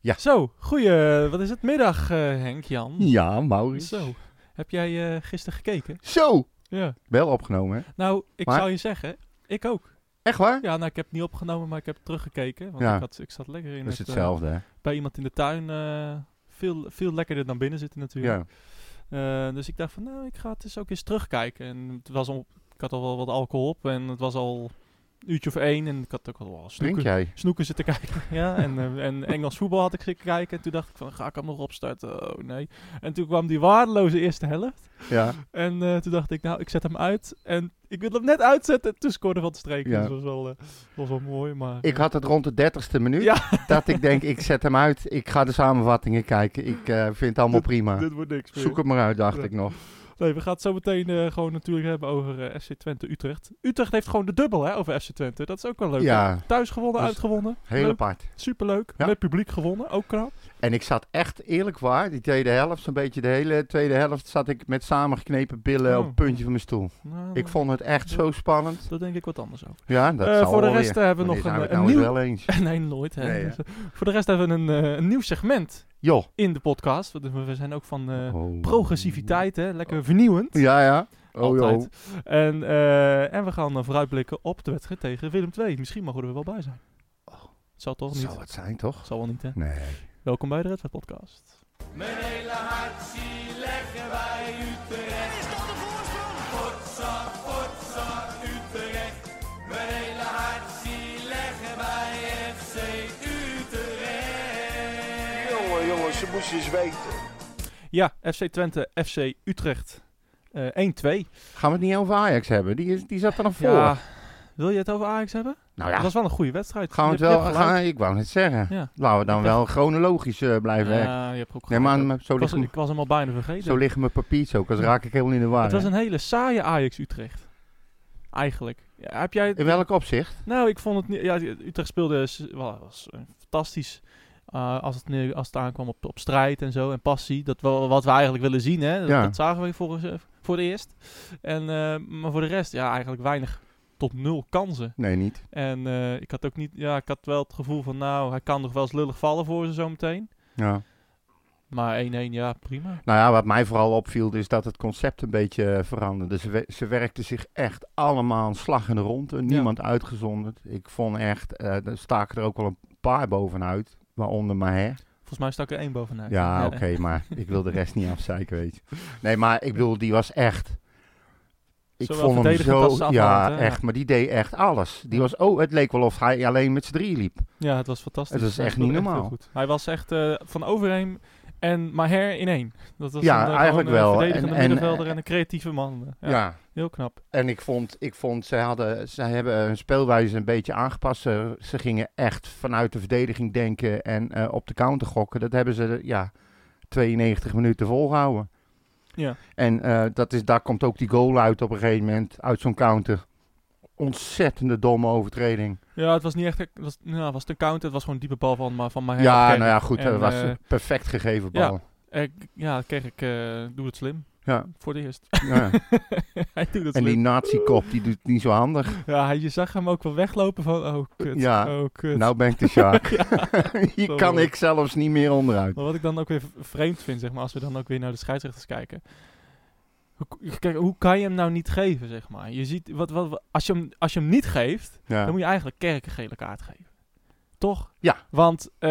Ja. Zo, goeie, wat is het? Middag, eh, Henk, Jan. Ja, Maurits. Zo, heb jij eh, gisteren gekeken? Zo! Ja. Wel opgenomen, hè? Nou, ik Maar- zou je zeggen, ik ook. Echt waar? Ja, nou, ik heb het niet opgenomen, maar ik heb teruggekeken. Want Ja. ik, had, ik zat lekker in Dat is het, eh, hetzelfde, hè? bij iemand in de tuin. eh, veel, veel lekkerder dan binnen zitten natuurlijk. Ja. Eh, dus ik dacht van, nou, ik ga het eens ook eens terugkijken. En het was al, ik had al wel wat alcohol op en het was al een uurtje of één. En ik had ook al wel Drink snoeken, jij? snoeken zitten kijken. ja, en, eh, en Engels voetbal had ik zitten kijken. En toen dacht ik van, ga ik hem nog opstarten? Oh nee. En toen kwam die waardeloze eerste helft. Ja. En eh, toen dacht ik, nou, ik zet hem uit. En ik wil hem net uitzetten. Toen scoorde Van de Streek. Ja. Dus dat was wel, eh, was wel mooi. Maar, eh, Ik had het rond de dertigste minuut Ja. dat ik denk, ik zet hem uit. Ik ga de samenvattingen kijken. Ik eh, vind het allemaal prima. dit wordt niks meer. Zoek het maar uit, dacht Ja. ik nog. Nee, we gaan het zo meteen eh, gewoon natuurlijk hebben over eh, FC Twente Utrecht. Utrecht heeft gewoon de dubbel hè, over FC Twente. Dat is ook wel leuk. hè? Ja, Thuis gewonnen, Dus- uitgewonnen. heel Leuk, apart. superleuk. Ja. Met publiek gewonnen, ook knap. En ik zat echt eerlijk waar, die tweede helft, zo'n beetje de hele tweede helft, zat ik met samengeknepen billen Oh. op het puntje van mijn stoel. Nou, Ik vond het echt zo spannend. Daar denk ik wat anders over. Ja, dat Eh, zal voor de wel rest weer. eh, hebben we Wanneer nog zijn een, we het een nou eens nieuw... wel eens. nee, nooit. Hè. Nee, hè? Dus, eh, voor de rest hebben we een, eh, een nieuw segment Joh. in de podcast. Want we we zijn ook van eh, Oh. progressiviteit, hè. lekker vernieuwend. Ja, ja. Oh, joh. Altijd. En, eh, en we gaan eh, vooruitblikken op de wedstrijd tegen Willem II. Misschien mogen we er wel bij zijn. Zal toch niet? Oh. Zou het zijn, toch? Zal wel niet, hè? Nee. Welkom bij de Red Red Podcast. Mijn hele hart zie leggen wij Utrecht. Is dat de voorsprong? Potsa, potsa, Utrecht. Mijn hele hart zie leggen wij FC Utrecht. Jongen, jongen, ze moesten eens weten. Ja, FC Twente, FC Utrecht. Eh, 1-2. Gaan we het niet over Ajax hebben? Die, is, die zat er nog voor. Ja. Wil je het over Ajax hebben? nou Dat ja, was wel een goede wedstrijd. gaan we Je het hebt- wel... je hebt Gaan, gelijk. ik wou net zeggen. Ja. Laten we dan wel chronologisch eh, blijven werken. Ja, je hebt ook Nee, gelijk. maar maar zo ik, was, liggen, ik was hem al bijna vergeten. zo liggen mijn papiertjes ook. Als raak ik helemaal in de war. het was hè. een hele saaie Ajax Utrecht. Eigenlijk. Ja, heb jij het- In welk opzicht? Nou, ik vond het niet. Ja, Utrecht speelde s- wel, was eh, fantastisch. Eh, als, het nu, als het aankwam op, op strijd en zo en passie. Dat wel, wat we eigenlijk willen zien, hè? Dat, Ja. dat zagen we voor, eh, voor de eerst. En, eh, maar voor de rest, ja, eigenlijk weinig tot nul kansen. Nee, niet. En eh, ik had ook niet. Ja, ik had wel het gevoel van, nou, hij kan nog wel eens lullig vallen voor ze zometeen. Ja. Maar 1-1, ja, prima. Nou ja, wat mij vooral opviel is dat het concept een beetje eh, veranderde. Ze, we- ze werkten zich echt allemaal een slag in de ronde. Niemand uitgezonderd. Ik vond echt, eh er staken er ook wel een paar bovenuit. Waaronder Maher. Volgens mij stak er één bovenuit. Ja, oké, maar ik wil de rest niet afzeiken, weet je. Nee, maar ik bedoel, die was echt... Ik Zowel vond hem verdedigend zo... als aanvallend, ja, hè? echt, maar die deed echt alles. Die was... Oh, het leek wel of hij alleen met z'n drie liep. Ja, het was fantastisch. Het is Hij echt speelde niet heel normaal. goed. Hij was echt eh, van overheen en Maher in één. Dat was Ja, een, eh, eigenlijk gewoon, eh, wel. verdedigende En- en- middenvelder en een creatieve man. Ja, Ja. Heel knap. En ik vond, ik vond zij, hadden, zij hebben hun speelwijze een beetje aangepast. Ze, ze gingen echt vanuit de verdediging denken en eh, op de counter gokken. Dat hebben ze, ja, 92 minuten volgehouden. Ja. En eh, dat is, daar komt ook die goal uit op een gegeven moment, uit zo'n counter. Ontzettende domme overtreding. ja, het was niet echt... Het was, nou, het was een counter. Het was gewoon een diepe bal van, maar van Maher. ja, Kreeg- nou ja, goed. en, dat was eh, een perfect gegeven ja. bal. eh, k- ja, kreeg ik... eh, doe het slim. Ja. Voor de eerst. Ja. hij doet het En die slim. nazi-kop, die doet niet zo handig. Ja, hij- je zag hem ook wel weglopen van... Oh, kut. Ja, Oh, kut. Nou ben ik de shark. Hier Zo. kan ik zelfs niet meer onderuit. Maar wat ik dan ook weer v- vreemd vind, zeg maar, als we dan ook weer naar de scheidsrechters kijken. Hoe, k- kijk, hoe kan je hem nou niet geven, zeg maar? Je ziet, wat, wat, wat- als, je hem, als je hem niet geeft, Ja. dan moet je eigenlijk kerk een gele kaart geven. Toch? Ja. Want eh,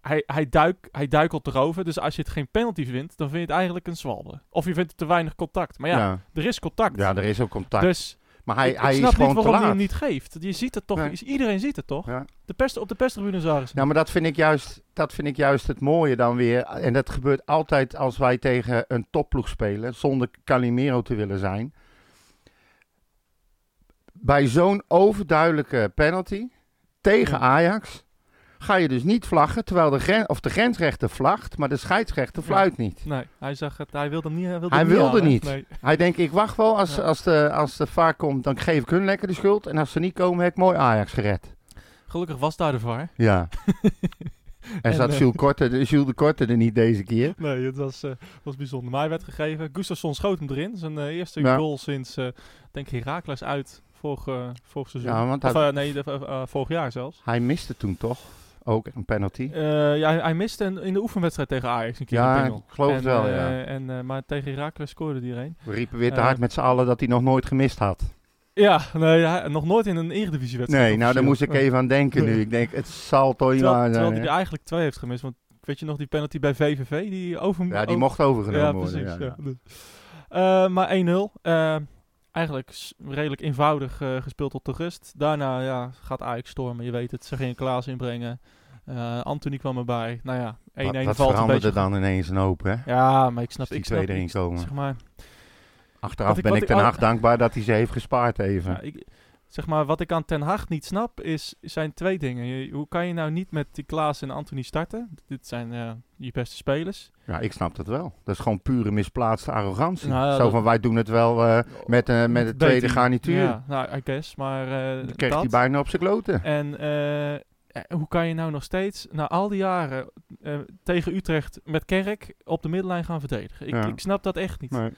hij, hij, duik, hij duikelt erover, dus als je het geen penalty vindt, dan vind je het eigenlijk een zwalbe. Of je vindt er te weinig contact. Maar ja, ja. er is contact. Ja, er is ook contact. Dus Maar hij, ik, ik hij snap is gewoon niet te waarom laat. hij hem niet geeft. Je ziet het toch, Nee. is- iedereen ziet het toch? Ja. De pest, op de perstribune zagen ze. Ja, maar dat vind, ik juist, dat vind ik juist het mooie dan weer. En dat gebeurt altijd als wij tegen een topploeg spelen, zonder Calimero te willen zijn. Bij zo'n overduidelijke penalty tegen Ja. Ajax ga je dus niet vlaggen, terwijl de, gren, of de grensrechter vlagt, maar de scheidsrechter Ja. fluit niet. Nee, hij zag het, hij wilde hem niet. Hij wilde, Hij hem niet wilde halen. niet. Nee. Hij denkt, ik wacht wel, als, Ja. als, de, als de vaar komt, dan geef ik hun lekker de schuld. En als ze niet komen, heb ik mooi Ajax gered. Gelukkig was daar de VAR. Ja. en En, zat eh, Jules, Korte, Jules de Korte er niet deze keer. Nee, het was, eh, was bijzonder. Maar hij werd gegeven. Gustafsson schoot hem erin. Zijn eh, eerste Ja. goal sinds, eh denk ik, Herakles uit vorig, eh, vorig seizoen. Ja, want of, hij- eh, nee, de- eh, eh, vorig jaar zelfs. Hij miste toen toch? ook een penalty. Eh, ja, hij, hij miste een, in de oefenwedstrijd tegen Ajax een keer Ja, een pingel. ik geloof en, het wel, ja. eh, en, eh, maar tegen Heracles scoorde die er een. We riepen weer te eh, hard met z'n allen dat hij nog nooit gemist had. Ja, nee, hij- nog nooit in een eredivisiewedstrijd. Nee, nou daar officieel. moest ik Eh, even aan denken nu. Nee. Ik denk, het zal toch eh, niet Terwijl, waar terwijl zijn. hij er hè? eigenlijk twee heeft gemist. Want weet je nog die penalty bij VVV? Die over, Ja, die over- mocht overgenomen ja, worden. precies. ja, ja. ja. Eh, maar 1-0. eh, eigenlijk s- redelijk eenvoudig eh, gespeeld tot de rust. Daarna ja, gaat Ajax stormen. Je weet het. Ze gingen Klaas inbrengen. Eh Anthony kwam erbij. Nou ja, 1-1 Wat, wat valt een veranderde beetje. dan ineens een hoop, hè? Ja, maar ik snap... Als die ik snap, twee erin ik- komen. Zeg maar, Achteraf wat ik- ben wat ik ik Den al- Haag dankbaar dat hij ze heeft gespaard even. ja, ik, zeg maar, wat ik aan Ten Hag niet snap, is, zijn twee dingen. Je- hoe kan je nou niet met die Klaas en Anthony starten? Dit zijn eh, je beste spelers. Ja, ik snap dat wel. Dat is gewoon pure misplaatste arrogantie. Nou ja, Zo dat- van, wij doen het wel eh, met, eh, met de B-team. tweede garnituur. Ja, nou, I guess. Maar eh, Dan kreeg dat. hij bijna op zijn kloten. En eh, eh, hoe kan je nou nog steeds, na al die jaren eh, tegen Utrecht met Kerk op de middenlijn gaan verdedigen? Ik, Ja. ik snap dat echt niet. Maar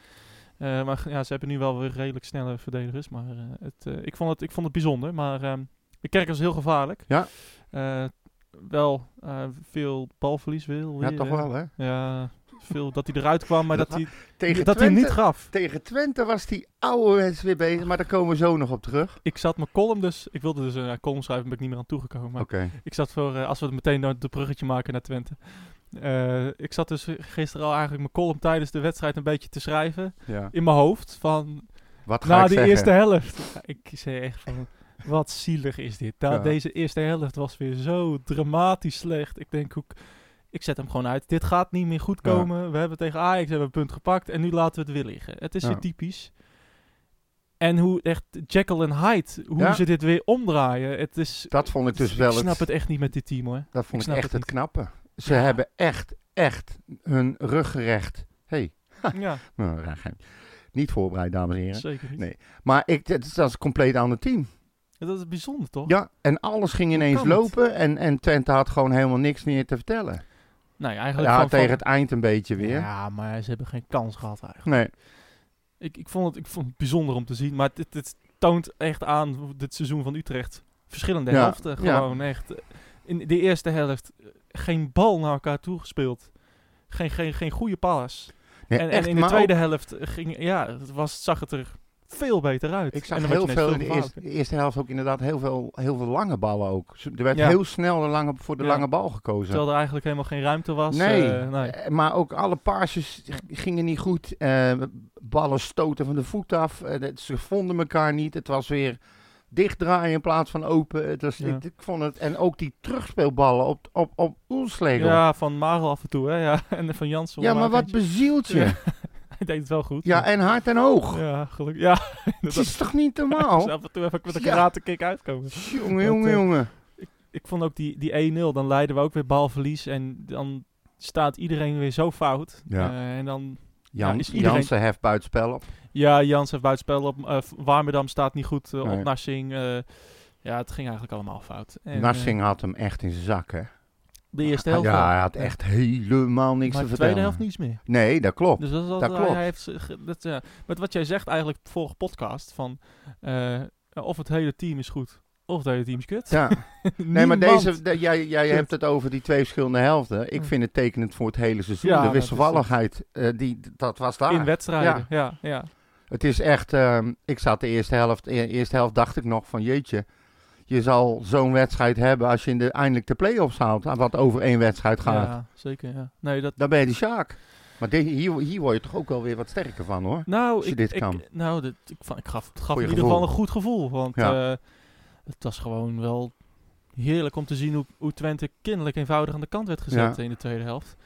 Eh, maar g- ja, ze hebben nu wel weer redelijk snelle verdedigers. Maar eh, het, eh, ik, vond het, ik vond het bijzonder. Maar ehm, de Kerk was heel gevaarlijk. Ja. Eh, wel eh, veel balverlies wil. ja, toch wel, hè? Ja, veel dat hij eruit kwam, maar dat, Dat hij, Tegen, dat hij Twente, niet gaf. tegen Twente was die oude mensen weer bezig, maar daar komen we zo nog op terug. Ik zat mijn column dus. Ik wilde dus een eh, column schrijven, ben ik niet meer aan toegekomen. Maar Oké. Ik zat voor, eh, als we het meteen naar de bruggetje maken naar Twente. Eh, ik zat dus gisteren al eigenlijk mijn column tijdens de wedstrijd een beetje te schrijven. Ja. In mijn hoofd van Wat ga na ik die zeggen? eerste helft. Ik zei echt van, wat zielig is dit. Da- Ja. Deze eerste helft was weer zo dramatisch slecht. Ik denk, hoe, k- ik zet hem gewoon uit. Dit gaat niet meer goed Ja. komen. We hebben tegen Ajax hebben we een punt gepakt en nu laten we het weer liggen. Het is Ja. weer typisch. En hoe echt Jekyll en Hyde, hoe Ja. ze dit weer omdraaien. Het is, Dat vond ik dus ik wel snap het, het echt niet met dit team hoor. dat vond ik ik, snap echt het het, knappe. Ze hebben echt, echt hun rug gerecht. Hé, Ja, nou, raar geintje. niet voorbereid, dames en heren. zeker niet. Nee. Maar ik, dat is- dat is een compleet ander team. Dat is bijzonder, toch? Ja, en alles ging ineens Oh. kan het? lopen en, en Twente had gewoon helemaal niks meer te vertellen. Nee, Ja, eigenlijk van- van- tegen het eind een beetje weer. Ja, maar ze hebben geen kans gehad eigenlijk. Nee, Ik, ik, vond het, ik vond het bijzonder om te zien, maar dit, dit toont echt aan hoe dit seizoen van Utrecht. Verschillende Ja, helften, ja. gewoon echt. eh, In de eerste helft eh, geen bal naar elkaar toegespeeld. Geen, geen, geen goede paas. nee en, echt, en in de maar tweede helft ging, ja, het was, zag het er veel beter uit. ook- ik En zag dan werd heel je veel in ineens de eerste, de eerste helft ook inderdaad heel veel, heel veel lange ballen ook. Ze- Er werd Ja. heel snel de lange, voor de Ja. lange bal gekozen. Terwijl er eigenlijk helemaal geen ruimte was. Nee. eh, nee. Eh, Maar ook alle paasjes g- gingen niet goed. Eh, ballen stoten van de voet af. Eh, dat- ze vonden elkaar niet. Het was weer dichtdraaien in plaats van open. Het was, Ja. ik, ik vond het, en ook die terugspeelballen op, op, op Oelslegel. Ja, Ja, van Marel af en toe, hè. Ja. En van Jansen. maar wat bezielt je? Ja. Ja. Hij deed het wel goed. en hard en hoog. Ja, gelukkig. Ja, Het is toch niet dus normaal? af en toe even met een Ja. karate kick uitkomen. jongen, Dat, jongen, eh, jongen. Ik vond ook die, die 1-0, dan leiden we ook weer balverlies. En dan staat iedereen weer zo fout. Ja. Eh, en dan, Jan, ja, is iedereen- Jansen heft buitenspel op. ja, Jans heeft buitenspel op. eh, Warmerdam staat niet goed eh, op Nee. Narsing. eh, ja, het ging eigenlijk allemaal fout. En, eh, Narsing had hem echt in zijn zak, hè? de eerste helft. wel. Ja, hij had echt helemaal niks maar te vertellen. de tweede helft niets meer. Nee, dat klopt. Dus dat is Dat altijd, klopt. Hij heeft, z- ge- dat, ja. Met wat jij zegt eigenlijk vorige podcast, van eh, of het hele team is goed, of het hele team is kut. Ja. Nee, maar Niemand. deze, de- jij, jij Kut. hebt het over die twee verschillende helften. Ik Ja. vind het tekenend voor het hele seizoen. Ja, de dat is wisselvalligheid, eh, die, dat was daar. In wedstrijden, ja. ja, het is echt, ehm, ik zat de eerste helft, e- eerste helft dacht ik nog van jeetje, je zal zo'n wedstrijd hebben als je in de, eindelijk de play-offs haalt. Ah, Wat over één wedstrijd gaat, Ja, zeker. Ja. Nee, dat, dan ben je de Sjaak. Maar di- hier, hier word je toch ook wel weer wat sterker van hoor. nou, je ik, dit ik, kan. Nou, dit, ik, van, ik gaf, het gaf in Goeie ieder gevoel. geval een goed gevoel. Want Ja. eh, het was gewoon wel heerlijk om te zien hoe, hoe Twente kinderlijk eenvoudig aan de kant werd gezet in de tweede helft.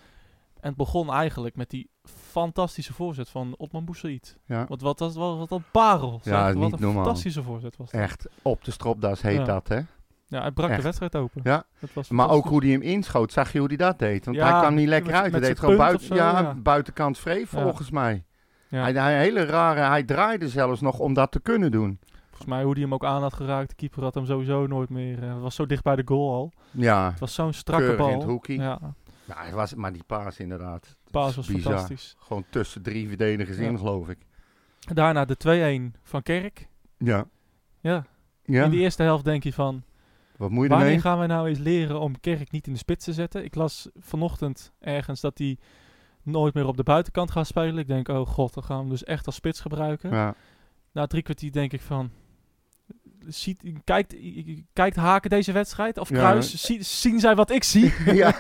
En het begon eigenlijk met die fantastische voorzet van Otman Boussaïd. Ja. Want wat, was wat, wat een parel. zeg. Ja, wat niet een normaal. fantastische voorzet was dat. Echt op de stropdas heet Ja. dat hè. Ja, hij brak de Echt. wedstrijd open. Ja. Dat was Maar ook fantastisch. hoe hij hem inschoot, zag je hoe hij dat deed? Want Ja, hij kwam niet lekker met- uit. met Hij deed zijn gewoon punt buiten, of zo, ja, ja. buitenkant vreef, Ja. volgens mij. Ja. Hij, hij, hele rare, hij draaide zelfs nog om dat te kunnen doen. Volgens mij hoe hij hem ook aan had geraakt. De keeper had hem sowieso nooit meer... eh, het was zo dicht bij de goal al. Ja, Het was zo'n strakke keurig bal. in het hoekie. Ja. Ja, hij was, maar die paas inderdaad. de paas was Bizar. fantastisch. Gewoon tussen drie verdedigers Ja. in, geloof ik. Daarna de 2-1 van Kerk. Ja. Ja. ja. In de eerste helft denk je van... Wat moet je Wanneer ermee? gaan wij nou eens leren om Kerk niet in de spits te zetten? Ik las vanochtend ergens dat hij nooit meer op de buitenkant gaat spelen. Ik denk, oh god, dan gaan we hem dus echt als spits gebruiken. Ja. Na drie kwartier denk ik van... Ziet, kijkt, kijkt Haken deze wedstrijd? Of Ja. Kruis? Zie- zien zij wat ik zie? ja,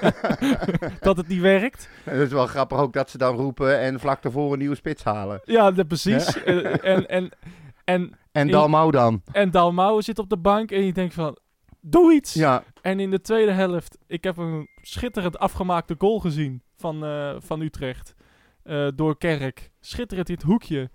dat het niet werkt? het is wel grappig ook dat ze dan roepen en vlak daarvoor een nieuwe spits halen. Ja, dat- precies. Eh, en, en, en, En Ik- Dalmau dan. en Dalmau zit op de bank en je denkt van... Doe iets! Ja, En in de tweede helft, ik heb een schitterend afgemaakte goal gezien van, eh, van Utrecht. eh, door Kerk. Schitterend in het hoekje.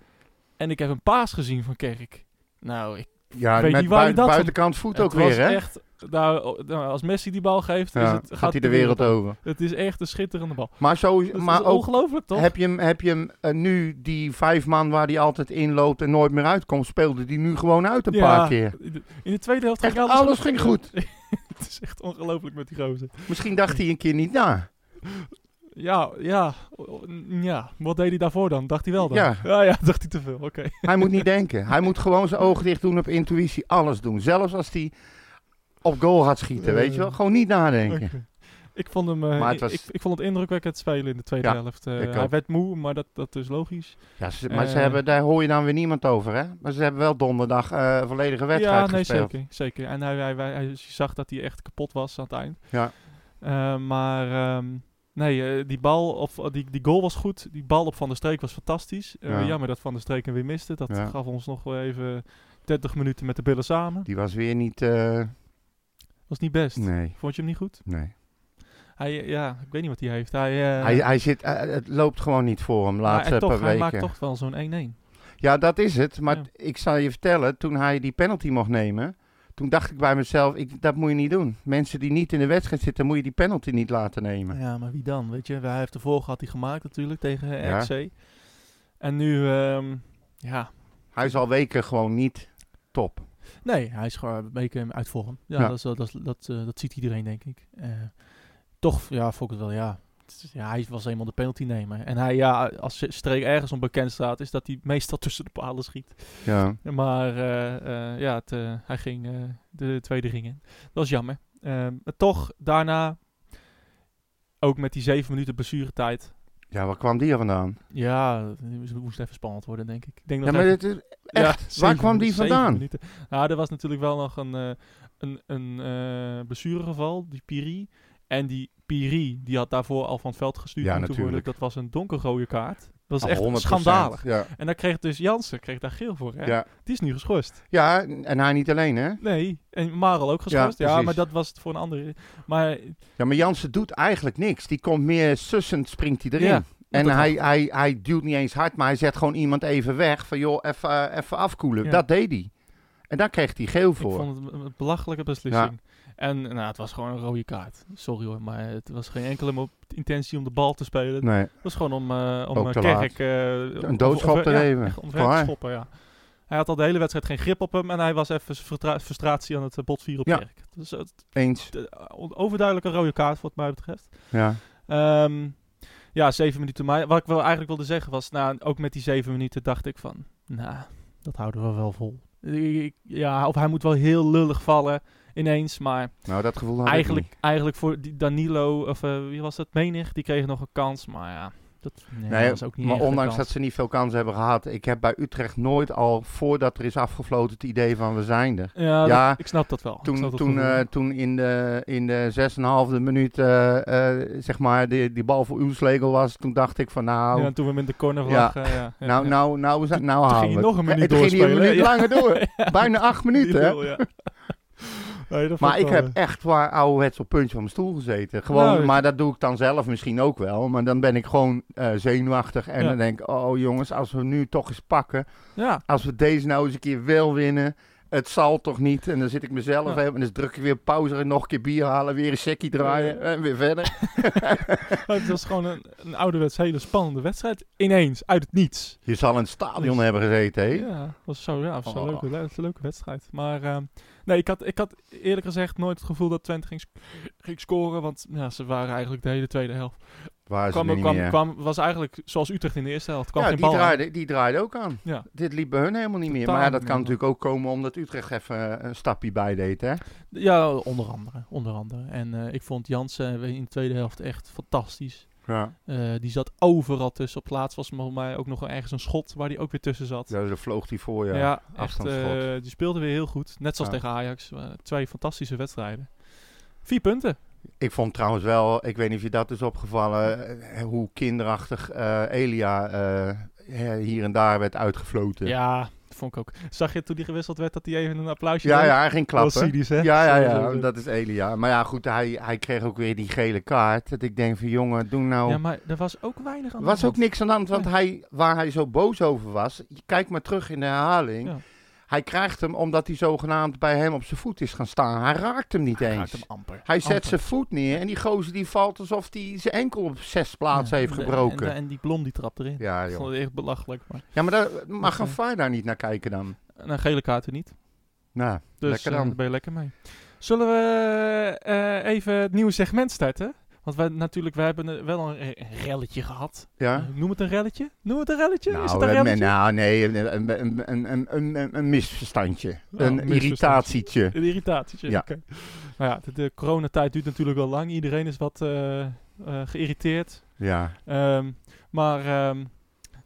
En ik heb een paas gezien van Kerk. Nou, ik ja Weet met niet waar je bui- dat van- buitenkant voet ook het was weer, hè? Echt, nou, o- nou, als Messi die bal geeft, is Ja, het, gaat hij de wereld over. Het is echt een schitterende bal. Maar, zo, Dat maar is ook ongelooflijk, toch? Heb je hem, heb je hem eh, nu, die vijf man waar hij altijd in loopt en nooit meer uitkomt, speelde die nu gewoon uit een Ja, paar keer. in de- In de tweede helft Echt, ging alles, alles, ging goed. het is echt ongelooflijk met die gozer. Misschien dacht hij een keer niet na. Ja, ja, o- o- ja. Wat deed hij daarvoor dan? Dacht hij wel dan? Ja. ja, ja, dacht hij te veel. Oké. Hij moet niet denken. Hij moet gewoon zijn ogen dicht doen op intuïtie. Alles doen. Zelfs als hij op goal gaat schieten, Eh. weet je wel. Gewoon niet nadenken. Oké. Ik vond hem eh, Maar het i- was- ik, ik vond het indrukwekkend spelen in de tweede Ja, helft. Eh, ik ook. hij werd moe, maar dat, dat is logisch. Ja, ze- maar ze Eh. hebben, daar hoor je dan weer niemand over, hè? Maar ze hebben wel donderdag eh, een volledige wedstrijd ja, nee, gespeeld. zeker, zeker. En hij, hij, hij- hij- je zag dat hij echt kapot was aan het eind. Ja. Eh, maar ehm, nee, eh, die bal of eh, die, die goal was goed. Die bal op Van der Streek was fantastisch. Eh, Ja. Jammer dat Van der Streek hem weer miste. Dat Ja. gaf ons nog wel even 30 minuten met de billen samen. Die was weer niet... eh, Was niet best. nee, Vond je hem niet goed? nee. Hij, eh, ja, ik weet niet wat hij heeft. Hij, eh, hij, eh, hij zit, eh, het loopt gewoon niet voor hem de maar laatste en toch, paar hij weken. maakt toch wel zo'n 1-1. Ja, dat is het. Maar Ja. t- ik zal je vertellen, toen hij die penalty mocht nemen, toen dacht ik bij mezelf, ik, dat moet je niet doen. Mensen die niet in de wedstrijd zitten, moet je die penalty niet laten nemen. Ja, maar wie dan? Weet je, hij heeft de vorige had hij gemaakt natuurlijk tegen eh, Ja. RC. En nu, ehm, ja, Hij is al weken gewoon niet top. nee, hij is gewoon een beetje uit vorm. Ja, Ja. Dat, is, wel- dat, is- dat, eh, dat ziet iedereen, denk ik. Eh, toch, ja, vond ik het wel, ja. Het is- Ja, hij was eenmaal de penalty nemen. En hij, ja, als streek ergens onbekend staat, is dat hij meestal tussen de palen schiet. Ja. Maar eh, eh, ja, het, eh, hij ging eh, de tweede ring in. Dat is jammer. Ehm, maar toch, daarna, ook met die zeven minuten blessuretijd, Ja, waar kwam die er vandaan? Ja, het moest even spannend worden, denk ik. ik denk Ja, dat maar hij- dit is echt, Ja, waar zeven kwam die minuten- zeven vandaan? minuten. Nou, er was natuurlijk wel nog een, eh, een, een eh, blessuregeval, die Piri. En die Piri, die had daarvoor al van het veld gestuurd Ja, moeten natuurlijk. worden. Dat was een donkerrode kaart. Dat is Ah, echt 100%. schandalig. Ja. En daar kreeg dus Jansen kreeg daar geel voor, hè? Ja. Die is nu geschorst. ja, en hij niet alleen, hè? Nee, en Marel ook geschorst. Ja, precies. maar dat was het voor een andere... Maar Ja, maar Jansen doet eigenlijk niks. Die komt meer sussend, springt hij erin. Ja, en dat hij, hij, hij duwt niet eens hard, maar hij zet gewoon iemand even weg. Van joh, even eh, even afkoelen. Ja. Dat deed hij. En daar kreeg hij geel Ik voor. vond het een- een belachelijke beslissing. En nou, het was gewoon een rode kaart. Sorry hoor, maar het was geen enkele mo- intentie om de bal te spelen. Nee. Het was gewoon om, eh om Ook eh, te Kerk... eh, om- doodschop omver- te ja, nemen. echt omver te Klaar. schoppen, ja. Hij had al de hele wedstrijd geen grip op hem. En hij was even vertra- frustratie aan het eh, botvieren op Ja. Kerk. Dus het, Eens. eh, on- overduidelijk een rode kaart wat mij betreft. Ja. Ehm, ja, zeven minuten. Maar wat ik wel eigenlijk wilde zeggen was... Nou, ook met die zeven minuten dacht ik van... Nou, dat houden we wel vol. Ik- ik- Ja, of hij moet wel heel lullig vallen ineens, maar... Nou, dat gevoel had ik Eigenlijk, eigenlijk voor die Danilo, of eh, wie was dat? Menig, die kreeg nog een kans, maar ja, dat nee, niet. Nee, was ook niet maar echt een ondanks dat kans. ze niet veel kansen hebben gehad, ik heb bij Utrecht nooit al, voordat er is afgefloten, het idee van we zijn er. Ja, Ja, dat- ik snap dat wel. Ik snap Toen, dat toen, Oh, gevoel. eh, toen in de, in de 6,5e minuut, eh, eh, zeg maar, die, die bal voor Oelslegel was, toen dacht ik van nou, ja, en toen we hem in de Ja. corner lagen. Ja. ja, nou, ja. nou, nou, nou, nou ging halen hij we nog het. een minuut Het ging hier een minuut langer doorspelen, door. Bijna acht minuten, hè. Die wil, ja. Nee, dat vond Maar ik wel, heb eh, echt waar ouderwets op puntje van mijn stoel gezeten. Gewoon, Nou, ik- maar dat doe ik dan zelf misschien ook wel. Maar dan ben ik gewoon eh, zenuwachtig. En Ja. dan denk ik, oh jongens, als we nu toch eens pakken. eh, Ja, Als we deze nou eens een keer wel winnen. Het zal toch niet. En dan zit ik mezelf Ja. even. En dan druk ik weer pauze. En nog een keer bier halen. Weer een sekkie draaien. En weer verder. het was gewoon een, een ouderwets hele spannende wedstrijd. Ineens, uit het niets. Je zal in het stadion Dus- hebben gezeten, hè? Ja, was zo, ja, was zo'n Oh. leuke, le- leuke wedstrijd. Maar ehm, nee, ik had, ik had eerlijk gezegd nooit het gevoel dat Twente ging, sc- ging scoren. Want ja, ze waren eigenlijk de hele tweede helft Waar ze Kwam, nu niet kwam, meer. kwam, was eigenlijk zoals Utrecht in de eerste helft. Kwam ja, geen die bal aan. draaide, die draaide ook aan. Ja. Dit liep bij hun helemaal niet meer. Totaal Maar ja, niet dat kan meer. natuurlijk ook komen omdat Utrecht even eh, een stapje bij deed. Hè? Ja, onder andere. Onder andere. En eh, ik vond Jansen in de tweede helft echt fantastisch. Ja. Eh, die zat overal tussen. Op plaats was volgens mij ook nog ergens een schot waar die ook weer tussen zat. Ja, daar vloog hij voor, ja. echt, afstandsschot. eh, die speelde weer heel goed. Net zoals Ja. tegen Ajax. Eh, twee fantastische wedstrijden. Vier punten. Ik vond trouwens wel, ik weet niet of je dat is opgevallen, eh, hoe kinderachtig eh, Elia eh, hè, hier en daar werd uitgefloten. Ja, dat vond ik ook. Zag je toen die gewisseld werd dat hij even een applausje ja, deed? ja, hij ging Wel klappen. cynisch, hè? Ja, ja, Zo, ja, zo, zo. dat is Elia. Maar ja, goed, hij, hij kreeg ook weer die gele kaart. Dat ik denk van, jongen, doe nou... Ja, maar er was ook weinig aan Er de was hand. ook niks aan de hand, want hij, waar hij zo boos over was, je kijkt maar terug in de herhaling. Ja. Hij krijgt hem omdat hij zogenaamd bij hem op zijn voet is gaan staan. Hij raakt hem niet Hij raakt eens. hem amper. Hij zet Amper. zijn voet neer en die gozer die valt alsof hij zijn enkel op zes plaatsen Ja, heeft en de- gebroken. En, en die blom die trapt erin. ja, Ik joh. vond het echt belachelijk. Maar. ja, maar daar mag een eh, VAR daar niet naar kijken dan. En een gele kaart er niet. Nou, Dus lekker eh, dan. daar ben je lekker mee. Zullen we eh, even het nieuwe segment starten? Want wij natuurlijk, we hebben eh, wel een re- een relletje gehad. Eh, ja? Noem het een relletje? Noem het een relletje? Is het Nou, een eh, men- relletje? nou, nee, een, een, een, een, een, een, een misverstandje. een Oh, misverstandje. irritatietje. Een irritatie. Ja. Ja. Nou ja, de, de coronatijd duurt natuurlijk wel lang. Iedereen is wat eh, eh, geïrriteerd. Ja, Ehm, maar ehm,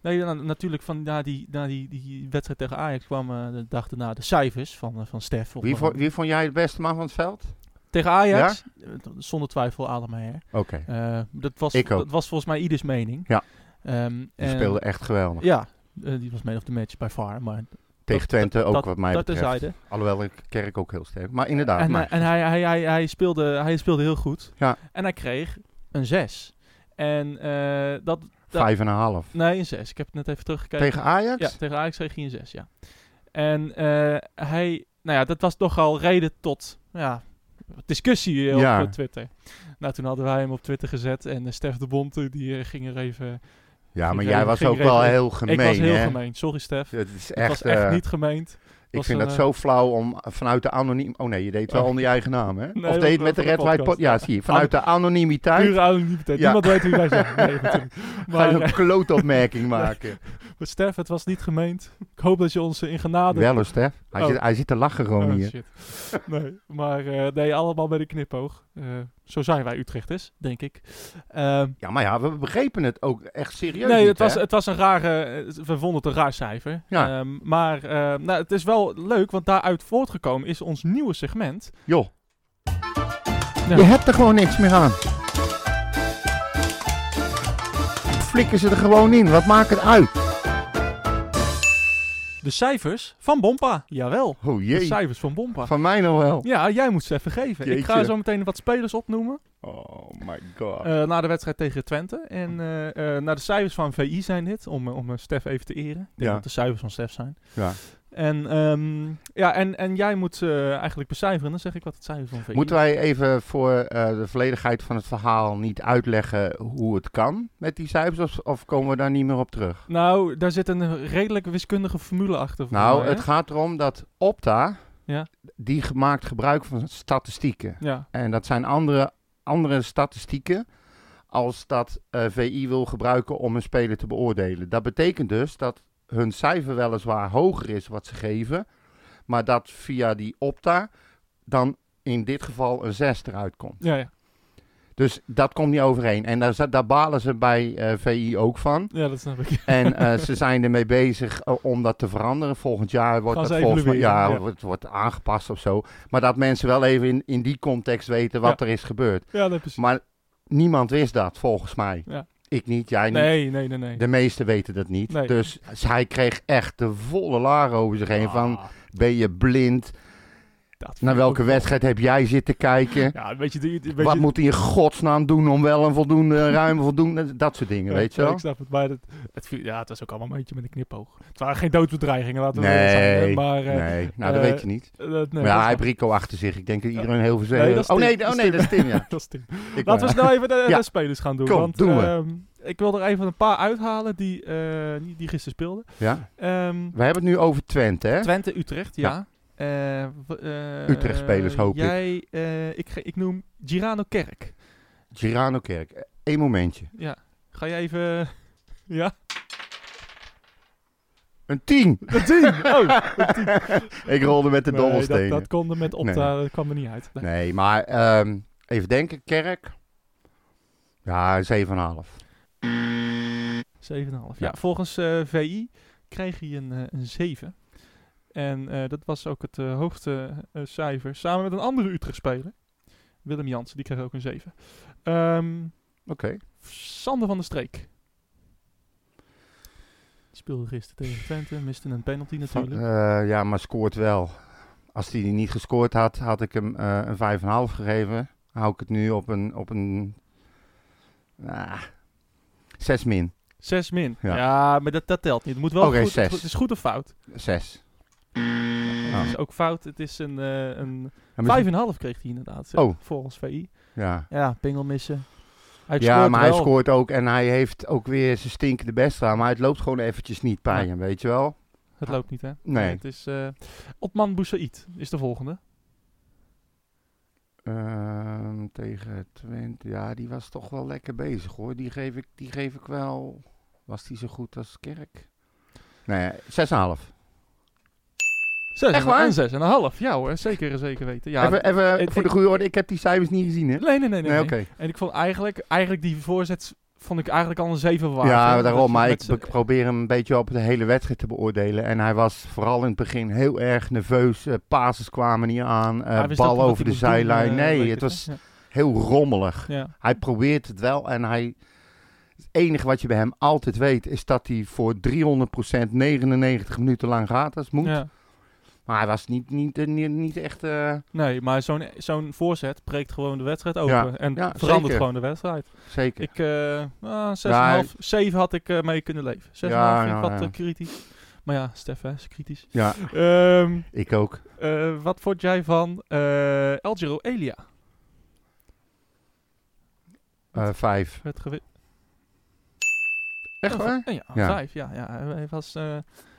nee, na- natuurlijk van na die, na die, die wedstrijd tegen Ajax kwamen de dag daarna de cijfers van, eh, van Stef. Of wie, van- vond, wie vond jij de beste man van het veld? Tegen Ajax, eh, zonder twijfel Adam Meijer. Oké, Eh, dat, was, Ik ook. dat was volgens mij ieders mening. Ja. Ehm, die en- speelde echt geweldig. Ja, eh, die was man of the match bij far. Maar Tegen dat- Twente ook wat mij dat betreft. terzijde. Alhoewel ik Kerk ook heel sterk. Maar inderdaad, en eh, maar, en hij, hij, hij, hij, speelde, hij speelde heel goed. Ja. En hij kreeg een 6. En eh, dat... dat- vijf en een half. Nee, een 6. Ik heb het net even teruggekeken. Tegen Ajax? Ja, tegen Ajax kreeg hij een 6, ja. En eh, hij... Nou ja, dat was toch al reden tot ja, discussie eh, op Ja. eh, Twitter. Nou, toen hadden wij hem op Twitter gezet. En eh, Stef de Bonte, die eh, ging er even... Ja, maar Ging jij regen- was ging ook wel regen. heel gemeen, ik was heel hè? gemeen. Sorry, Stef. Het is Het echt, was echt eh, niet gemeend. ik was vind een, dat eh, zo flauw om vanuit de anoniem... Oh nee, je deed het wel Oh. onder je eigen naam, hè? Nee, of dat deed het was met de voor de Red White... Pod- podcast. ja, zie je. Vanuit de anonimiteit Pure anonimiteit. Ja. Niemand weet wie wij zijn. Nee, natuurlijk. ga Maar, je eh, een klootopmerking maken. Maar Stef, het was niet gemeend. Ik hoop dat je ons eh, in genade... Wel eens, hè? Hij, Oh. zit, hij zit te lachen gewoon Oh, hier. shit. Nee, maar eh, nee, allemaal bij de knipoog. Eh, zo zijn wij Utrechters, denk ik. Ehm, Ja, maar ja, we begrepen het ook echt serieus nee, niet, het was, hè? het was een rare... eh, We vonden het een raar cijfer. Ja. Ehm, maar eh, nou, het is wel leuk, want daaruit voortgekomen is ons nieuwe segment. Joh. Ja. Je hebt er gewoon niks meer aan. Flikken ze er gewoon in. Wat maakt het uit? De cijfers van Bompa. Jawel, Oh de jee. cijfers van Bompa. Van mij nog wel. Ja, jij moet ze even geven. Ik ga Jeetje. zo meteen wat spelers opnoemen. Oh my god. Eh, na de wedstrijd tegen Twente. En Hm. eh, eh, naar de cijfers van VI zijn dit, om, eh, om eh, Stef even te eren. Ik denk Ja. dat de cijfers van Stef zijn. Ja. En, ehm, ja, en, en jij moet eh, eigenlijk becijferen, dan zeg ik wat het cijfers van VI Moeten wij even voor eh, de volledigheid van het verhaal niet uitleggen hoe het kan met die cijfers? Of, of komen we daar niet meer op terug? Nou, daar zit een redelijk wiskundige formule achter. volgens Nou, mij, het hè? gaat erom dat Opta, Ja. die ge- maakt gebruik van statistieken. Ja, En dat zijn andere, andere statistieken als dat eh, VI wil gebruiken om een speler te beoordelen. Dat betekent dus dat hun cijfer weliswaar hoger is wat ze geven, maar dat via die opta dan in dit geval een 6 eruit komt. ja, ja. Dus dat komt niet overeen. En daar, za- daar balen ze bij eh, VI ook van. ja dat snap ik. En eh, ze zijn ermee bezig eh, om dat te veranderen. Volgend jaar wordt Gaan dat ze volgens mij evalueren, ja, ja. Wordt, wordt aangepast of zo. Maar dat mensen wel even in, in die context weten wat er is gebeurd. Ja, dat precies. Maar niemand wist dat, volgens mij. Ja. Ik niet, jij niet. Nee, nee, nee, nee. De meesten weten dat niet. Nee. Dus hij kreeg echt de volle laar over zich heen. Ah, Van, ben je blind? dat vind Naar ik welke ook wel. wedstrijd heb jij zitten kijken? Ja, weet je, die- die- weet Wat je- moet hij in godsnaam doen om wel een voldoende, ruim voldoende... Dat soort dingen, Ja, weet je ja, wel? Ik snap het, maar het, het, viel- ja, het was ook allemaal een beetje met een knipoog. Het waren geen doodsbedreigingen, laten we eerlijk zijn. hè, Nee, Maar, eh, nee. Nou, dat eh, weet je niet. eh, dat- maar ja, nee, dat hij is heeft Rico achter zich. Ik denk dat Ja. iedereen heel veel Nee, dat is oh Tim. nee, oh nee, dat is Tim, ja. nog- dat is ding. Ik Laten we wou- snel even de, de Ja. spelers gaan doen. Kom, want, doen we. ehm, ik wil er even een paar uithalen die, eh, die, die gisteren speelden. ja. Ehm, We hebben het nu over Twente, hè? Twente, Utrecht, ja. Eh, w- eh, Utrecht-spelers, hoop ik. jij, eh, ik. ge- ik noem Girano Kerk. Girano Kerk. Eén momentje. Ja. Ga je even... Ja? Een 10. De 10! Oh, Ik rolde met de nee, dat, dobbelstenen. dat kon er met op. Nee. Dat kwam er niet uit. Nee. Nee, maar ehm, even denken. Kerk. Ja, een 7,5. 7,5. Ja, volgens eh, VI kreeg hij een, eh, een 7. En eh, dat was ook het eh, hoogste eh, cijfer. Samen met een andere Utrecht-speler. Willem Jansen, die kreeg ook een 7. Ehm, Oké. Sander van der Streek. Die speelde gisteren tegen Twente. Miste een penalty natuurlijk. Eh, ja, maar scoort wel. Als hij die niet gescoord had, had ik hem eh, een 5,5 gegeven. Hou ik het nu op een... Op een ah, 6 min. 6 min. Ja, Ja. maar dat, dat telt niet. Het moet wel Oké, goed. zes. Ah. Het is goed of fout. 6. Het is ook fout. Het is een, eh een 5,5 kreeg hij inderdaad. eh, Oh. Volgens VI. Ja. Ja, pingel missen. Hij ja, scoort maar wel. hij scoort ook en hij heeft ook weer zijn stinkende best aan. Maar het loopt gewoon eventjes niet bij Ja. hem, weet je wel? Het loopt niet, hè? Ah. Nee. het is eh Otman Boussaïd is de volgende. Ehm, tegen Twente, ja, die was toch wel lekker bezig hoor. Die geef ik, die geef ik wel. Was die zo goed als Kerk? Nee, 6,5. Zes Echt en- waar? En zes en een half. Ja hoor, zeker, zeker weten. Ja, even even ik- voor de goede orde, ik heb die cijfers niet gezien hè? nee, nee, nee, nee. Nee, nee. oké. En ik vond eigenlijk, eigenlijk die voorzet vond ik eigenlijk al een zeven waard. Ja, hè, dat daarom. je Maar ik met eh, be- z'n- probeer hem een beetje op de hele wedstrijd te beoordelen. En hij was vooral in het begin heel erg nerveus. eh passes kwamen niet aan. eh, Hij wist ook bal niet wat over de hij moest doen, zijlijn. eh, weet nee, het ik, was hè. heel rommelig. Ja. ja. Hij probeert het wel en hij. Het enige wat je bij hem altijd weet is dat hij voor 300% 99 minuten lang gaat als het moet. Ja. Maar hij was niet, niet, eh, niet, niet echt. eh, Nee, maar zo'n zo'n voorzet breekt gewoon de wedstrijd open. Ja, En ja, verandert zeker. gewoon de wedstrijd. zeker. Ik, eh ah, zes Ja, en hij- half, zeven had ik eh, mee kunnen leven. Zes en Ja, half vind ik ja, wat ja. eh, kritisch. Maar ja, Stef, hè, is kritisch. ja, Ehm ik ook. Eh, wat vond jij van eh El Giro Elia? Eh, vijf. Werd gewi- Echt Ja, waar? v- Ja, Ja. vijf. Ja, ja. Hij- Hij was eh,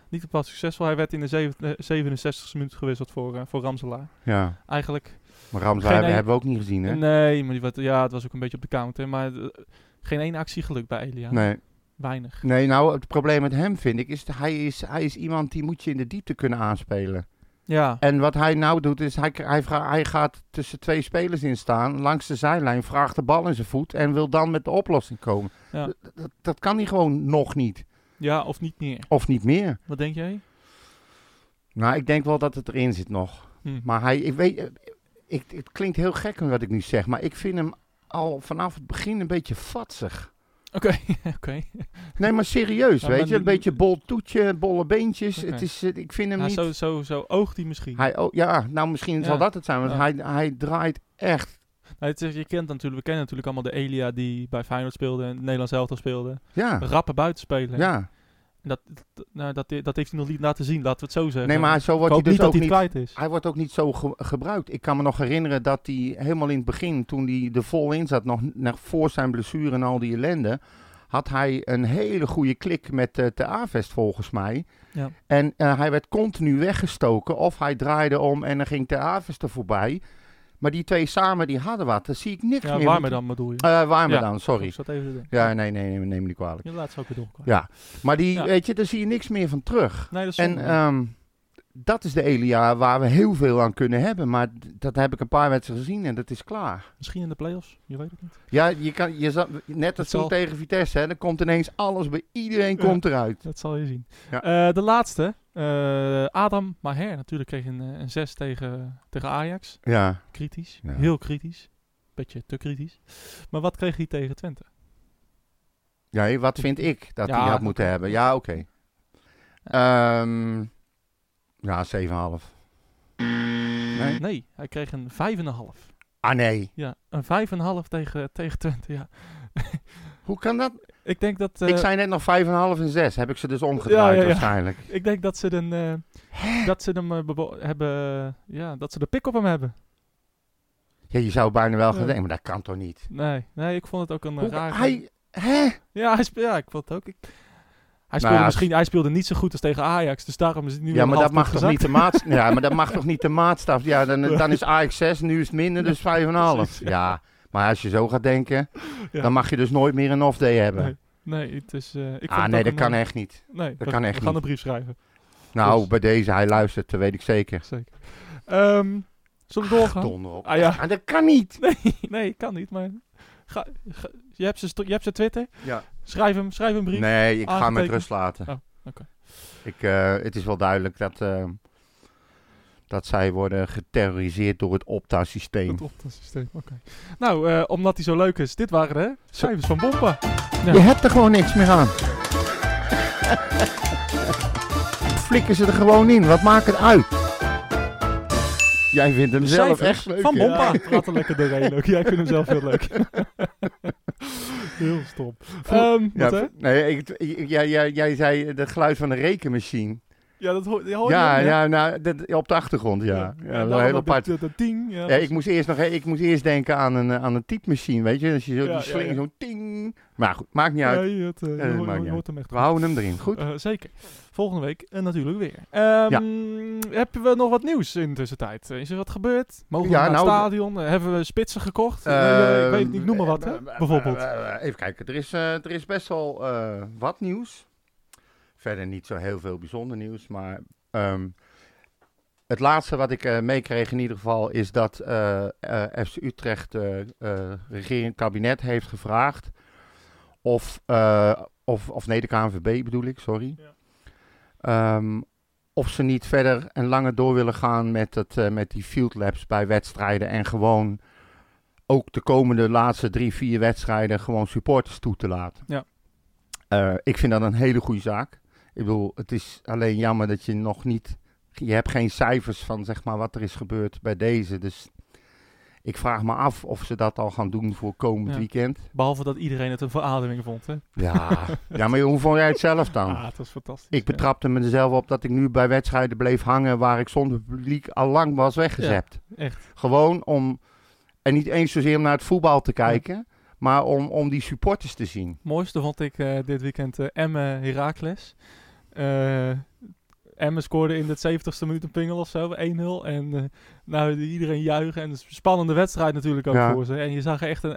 niet bepaald succesvol. Hij werd in de zeven- eh, 67e minuut gewisseld voor, eh, voor Ramselaar. Ja. Eigenlijk. Maar Ramsay Geen hebben, een- hebben we ook niet gezien, hè? Nee, maar die werd, ja, het was ook een beetje op de counter. Maar eh, geen één actie geluk bij Elia. Nee. Weinig. Nee, nou, het probleem met hem vind ik is, dat hij is, hij is iemand die moet je in de diepte kunnen aanspelen. Ja. En wat hij nou doet, is hij, hij, vra- hij gaat tussen twee spelers in staan, langs de zijlijn, vraagt de bal in zijn voet en wil dan met de oplossing komen. Ja. Dat, dat, dat kan hij gewoon nog niet. ja, of niet meer. Of niet meer. Wat denk jij? Nou, ik denk wel dat het erin zit nog. Hm. Maar hij, ik weet, eh, ik, het klinkt heel gek wat ik nu zeg, maar ik vind hem al vanaf het begin een beetje vatsig. Oké, oké. Nee, maar serieus, Ja, weet maar je? Een die- beetje bol toetje, bolle beentjes. Oké. Het is, eh, ik vind hem Ja, niet... zo, zo, zo oogt hij misschien. Hij, oh, ja, nou misschien Ja. zal dat het zijn, want Ja. hij, hij draait echt... Nou, het is- je kent natuurlijk, we kennen natuurlijk allemaal de Elia die bij Feyenoord speelde en het Nederlands elftal speelde. Ja, Rappen buitenspeler. ja. En Dat, dat, nou, dat, dat heeft hij nog niet laten zien, laten we het zo zeggen. Nee, maar zo ik wordt hoop hij dus niet dat ook hij niet... kwijt is. Hij wordt ook niet zo ge- gebruikt. Ik kan me nog herinneren dat hij helemaal in het begin, toen hij er vol in zat, nog, nog voor zijn blessure en al die ellende, had hij een hele goede klik met eh de Avest volgens mij. Ja. En eh, hij werd continu weggestoken of hij draaide om en dan ging de Avest er voorbij. Maar die twee samen, die hadden wat. Daar zie ik niks Ja, meer. waar me dan bedoel je? Eh, waar me Ja. dan, Ik sorry. zat even te denken. Ja, nee, nee, nee, neem me niet kwalijk. Je laat ze ook weer doorkomen. Ja, maar die, Ja. weet je, daar zie je niks meer van terug. Nee, dat is En zonde. ehm, dat is de Elia waar we heel veel aan kunnen hebben. Maar d- dat heb ik een paar wedstrijden gezien en dat is klaar. Misschien in de play-offs, je weet het niet. Ja, je kan, je za- net als zal- toen tegen Vitesse, hè, dan komt ineens alles bij iedereen komt eruit. Dat zal je zien. Ja. Eh, de laatste, eh, Adam Maher. Natuurlijk kreeg een, eh, een 6 tegen, tegen Ajax. Ja, Kritisch, Ja. heel kritisch. Beetje te kritisch. Maar wat kreeg hij tegen Twente? ja hé, wat vind ik dat hij Ja. had moeten hebben? Ja, oké. Ehm, ja, 7,5. Nee? Nee, hij kreeg een 5,5. Ah nee, Ja, een 5,5 tegen, tegen Twente, ja. hoe kan dat? Ik denk dat... eh, ik zei net nog 5,5 en 6. Heb ik ze dus omgedraaid Ja, ja, ja. waarschijnlijk. Ik denk dat ze, den, eh, dat ze hem eh, bebo- hebben. Ja, dat ze de pik op hem hebben. Ja, je zou bijna wel gaan Ja. denken, maar dat kan toch niet? Nee, nee ik vond het ook een Hoe- raar. rare. hij, hè? Ja, hij speel- ja, ik vond het ook. Ik, hij, speelde ja, misschien, hij speelde niet zo goed als tegen Ajax. Dus daarom is het nu. Ja, een maar half dat mag punt toch niet gezakt. de maatstaf. ja, maar dat mag toch niet de maatstaf. Ja, dan, dan is Ajax 6, nu is het minder, dus 5,5. Precies, ja. Ja, maar als je zo gaat denken, Ja. dan mag je dus nooit meer een off-day hebben. Nee. Nee, het is... eh, ik vond ah, het nee, ook dat een, kan eh, echt niet. Nee, dat we- kan echt We gaan niet. een brief schrijven, Nou, Dus- bij deze, hij luistert, dat weet ik zeker. zeker. Ehm, zullen we doorgaan? Donder op. Ah ja, Ah, dat kan niet. nee, kan niet, maar... Ga, ga- je, hebt ze, je hebt ze Twitter? Ja. Schrijf hem, schrijf een brief. Nee, ik ga hem met Aangetekend. rust laten. Oh, oké. ik, eh, het is wel duidelijk dat, eh, dat zij worden geterroriseerd door het Opta-systeem. Dat op dat systeem, oké. Nou, eh, omdat hij zo leuk is, dit waren de cijfers van Bompa. Ja. Je hebt er gewoon niks meer aan. Flikken ze er gewoon in. Wat maakt het uit? Jij vindt hem De zelf cijfers echt leuk. Van hè? Bompa. Praat er lekker doorheen ook. Jij vindt hem zelf heel leuk. heel stom. Ehm, wat Ja, hè? v- nee, ik, ik- jij, jij, jij zei eh, het geluid van een rekenmachine. Oh, Ja, dat hoor, die hoor je ja, ook, hè? nou, ja nou, dat, op de achtergrond, ja. ja, wel dan dat- heel apart. Dat, dat, dat ding. Ja, Ja, ik, moest eerst nog, ik moest eerst denken aan een, eh, aan een typemachine, weet je? Als je zo, Ja, die ja, sling ja. zo'n ting. Maar goed, maakt niet uit. Nee, dat, eh, je dat hoort- maakt niet je hoort hem echt We houden hem erin, goed? Eh, zeker. Volgende week eh, natuurlijk weer. Ehm, Hebben we nog wat nieuws in de tussentijd? Eh, Is er wat gebeurd? Mogen Ja, we naar nou, Ehm, het stadion? Eh, hebben we spitsen gekocht? Eh, ik weet het niet, noem maar wat, hè? Eh, eh, eh, bijvoorbeeld. eh, eh, even kijken, er is, eh, er is best wel eh, wat nieuws. Verder niet zo heel veel bijzonder nieuws, maar ehm, het laatste wat ik eh, meekreeg in ieder geval is dat eh, eh, FC Utrecht eh eh, regering kabinet heeft gevraagd of, eh, of, of nee, de KNVB bedoel ik, sorry. Ehm, of ze niet verder en langer door willen gaan met, het, eh, met die field labs bij wedstrijden. En gewoon ook de komende laatste drie, vier wedstrijden gewoon supporters toe te laten. Ja. Eh, ik vind dat een hele goede zaak. Ik bedoel, het is alleen jammer dat je nog niet... Je hebt geen cijfers van zeg maar, wat er is gebeurd bij deze. Dus ik vraag me af of ze dat al gaan doen voor komend Ja. weekend. Behalve dat iedereen het een verademing vond, hè? Ja. ja, maar hoe vond jij het zelf dan? Ah, dat is fantastisch. Nou, Ik betrapte me er zelf op dat ik nu bij wedstrijden bleef hangen waar ik zonder publiek al lang was weggezept. Ja, echt. Gewoon om, en niet eens zozeer om naar het voetbal te kijken, maar om, om die supporters te zien. Het mooiste vond ik eh, dit weekend eh Emmen Heracles. Eh Emmen scoorde in de 70ste minuut een pingel of zo, 1-0. En eh, nou, iedereen juichen. En het is een spannende wedstrijd natuurlijk ook Ja. voor ze. En je zag echt een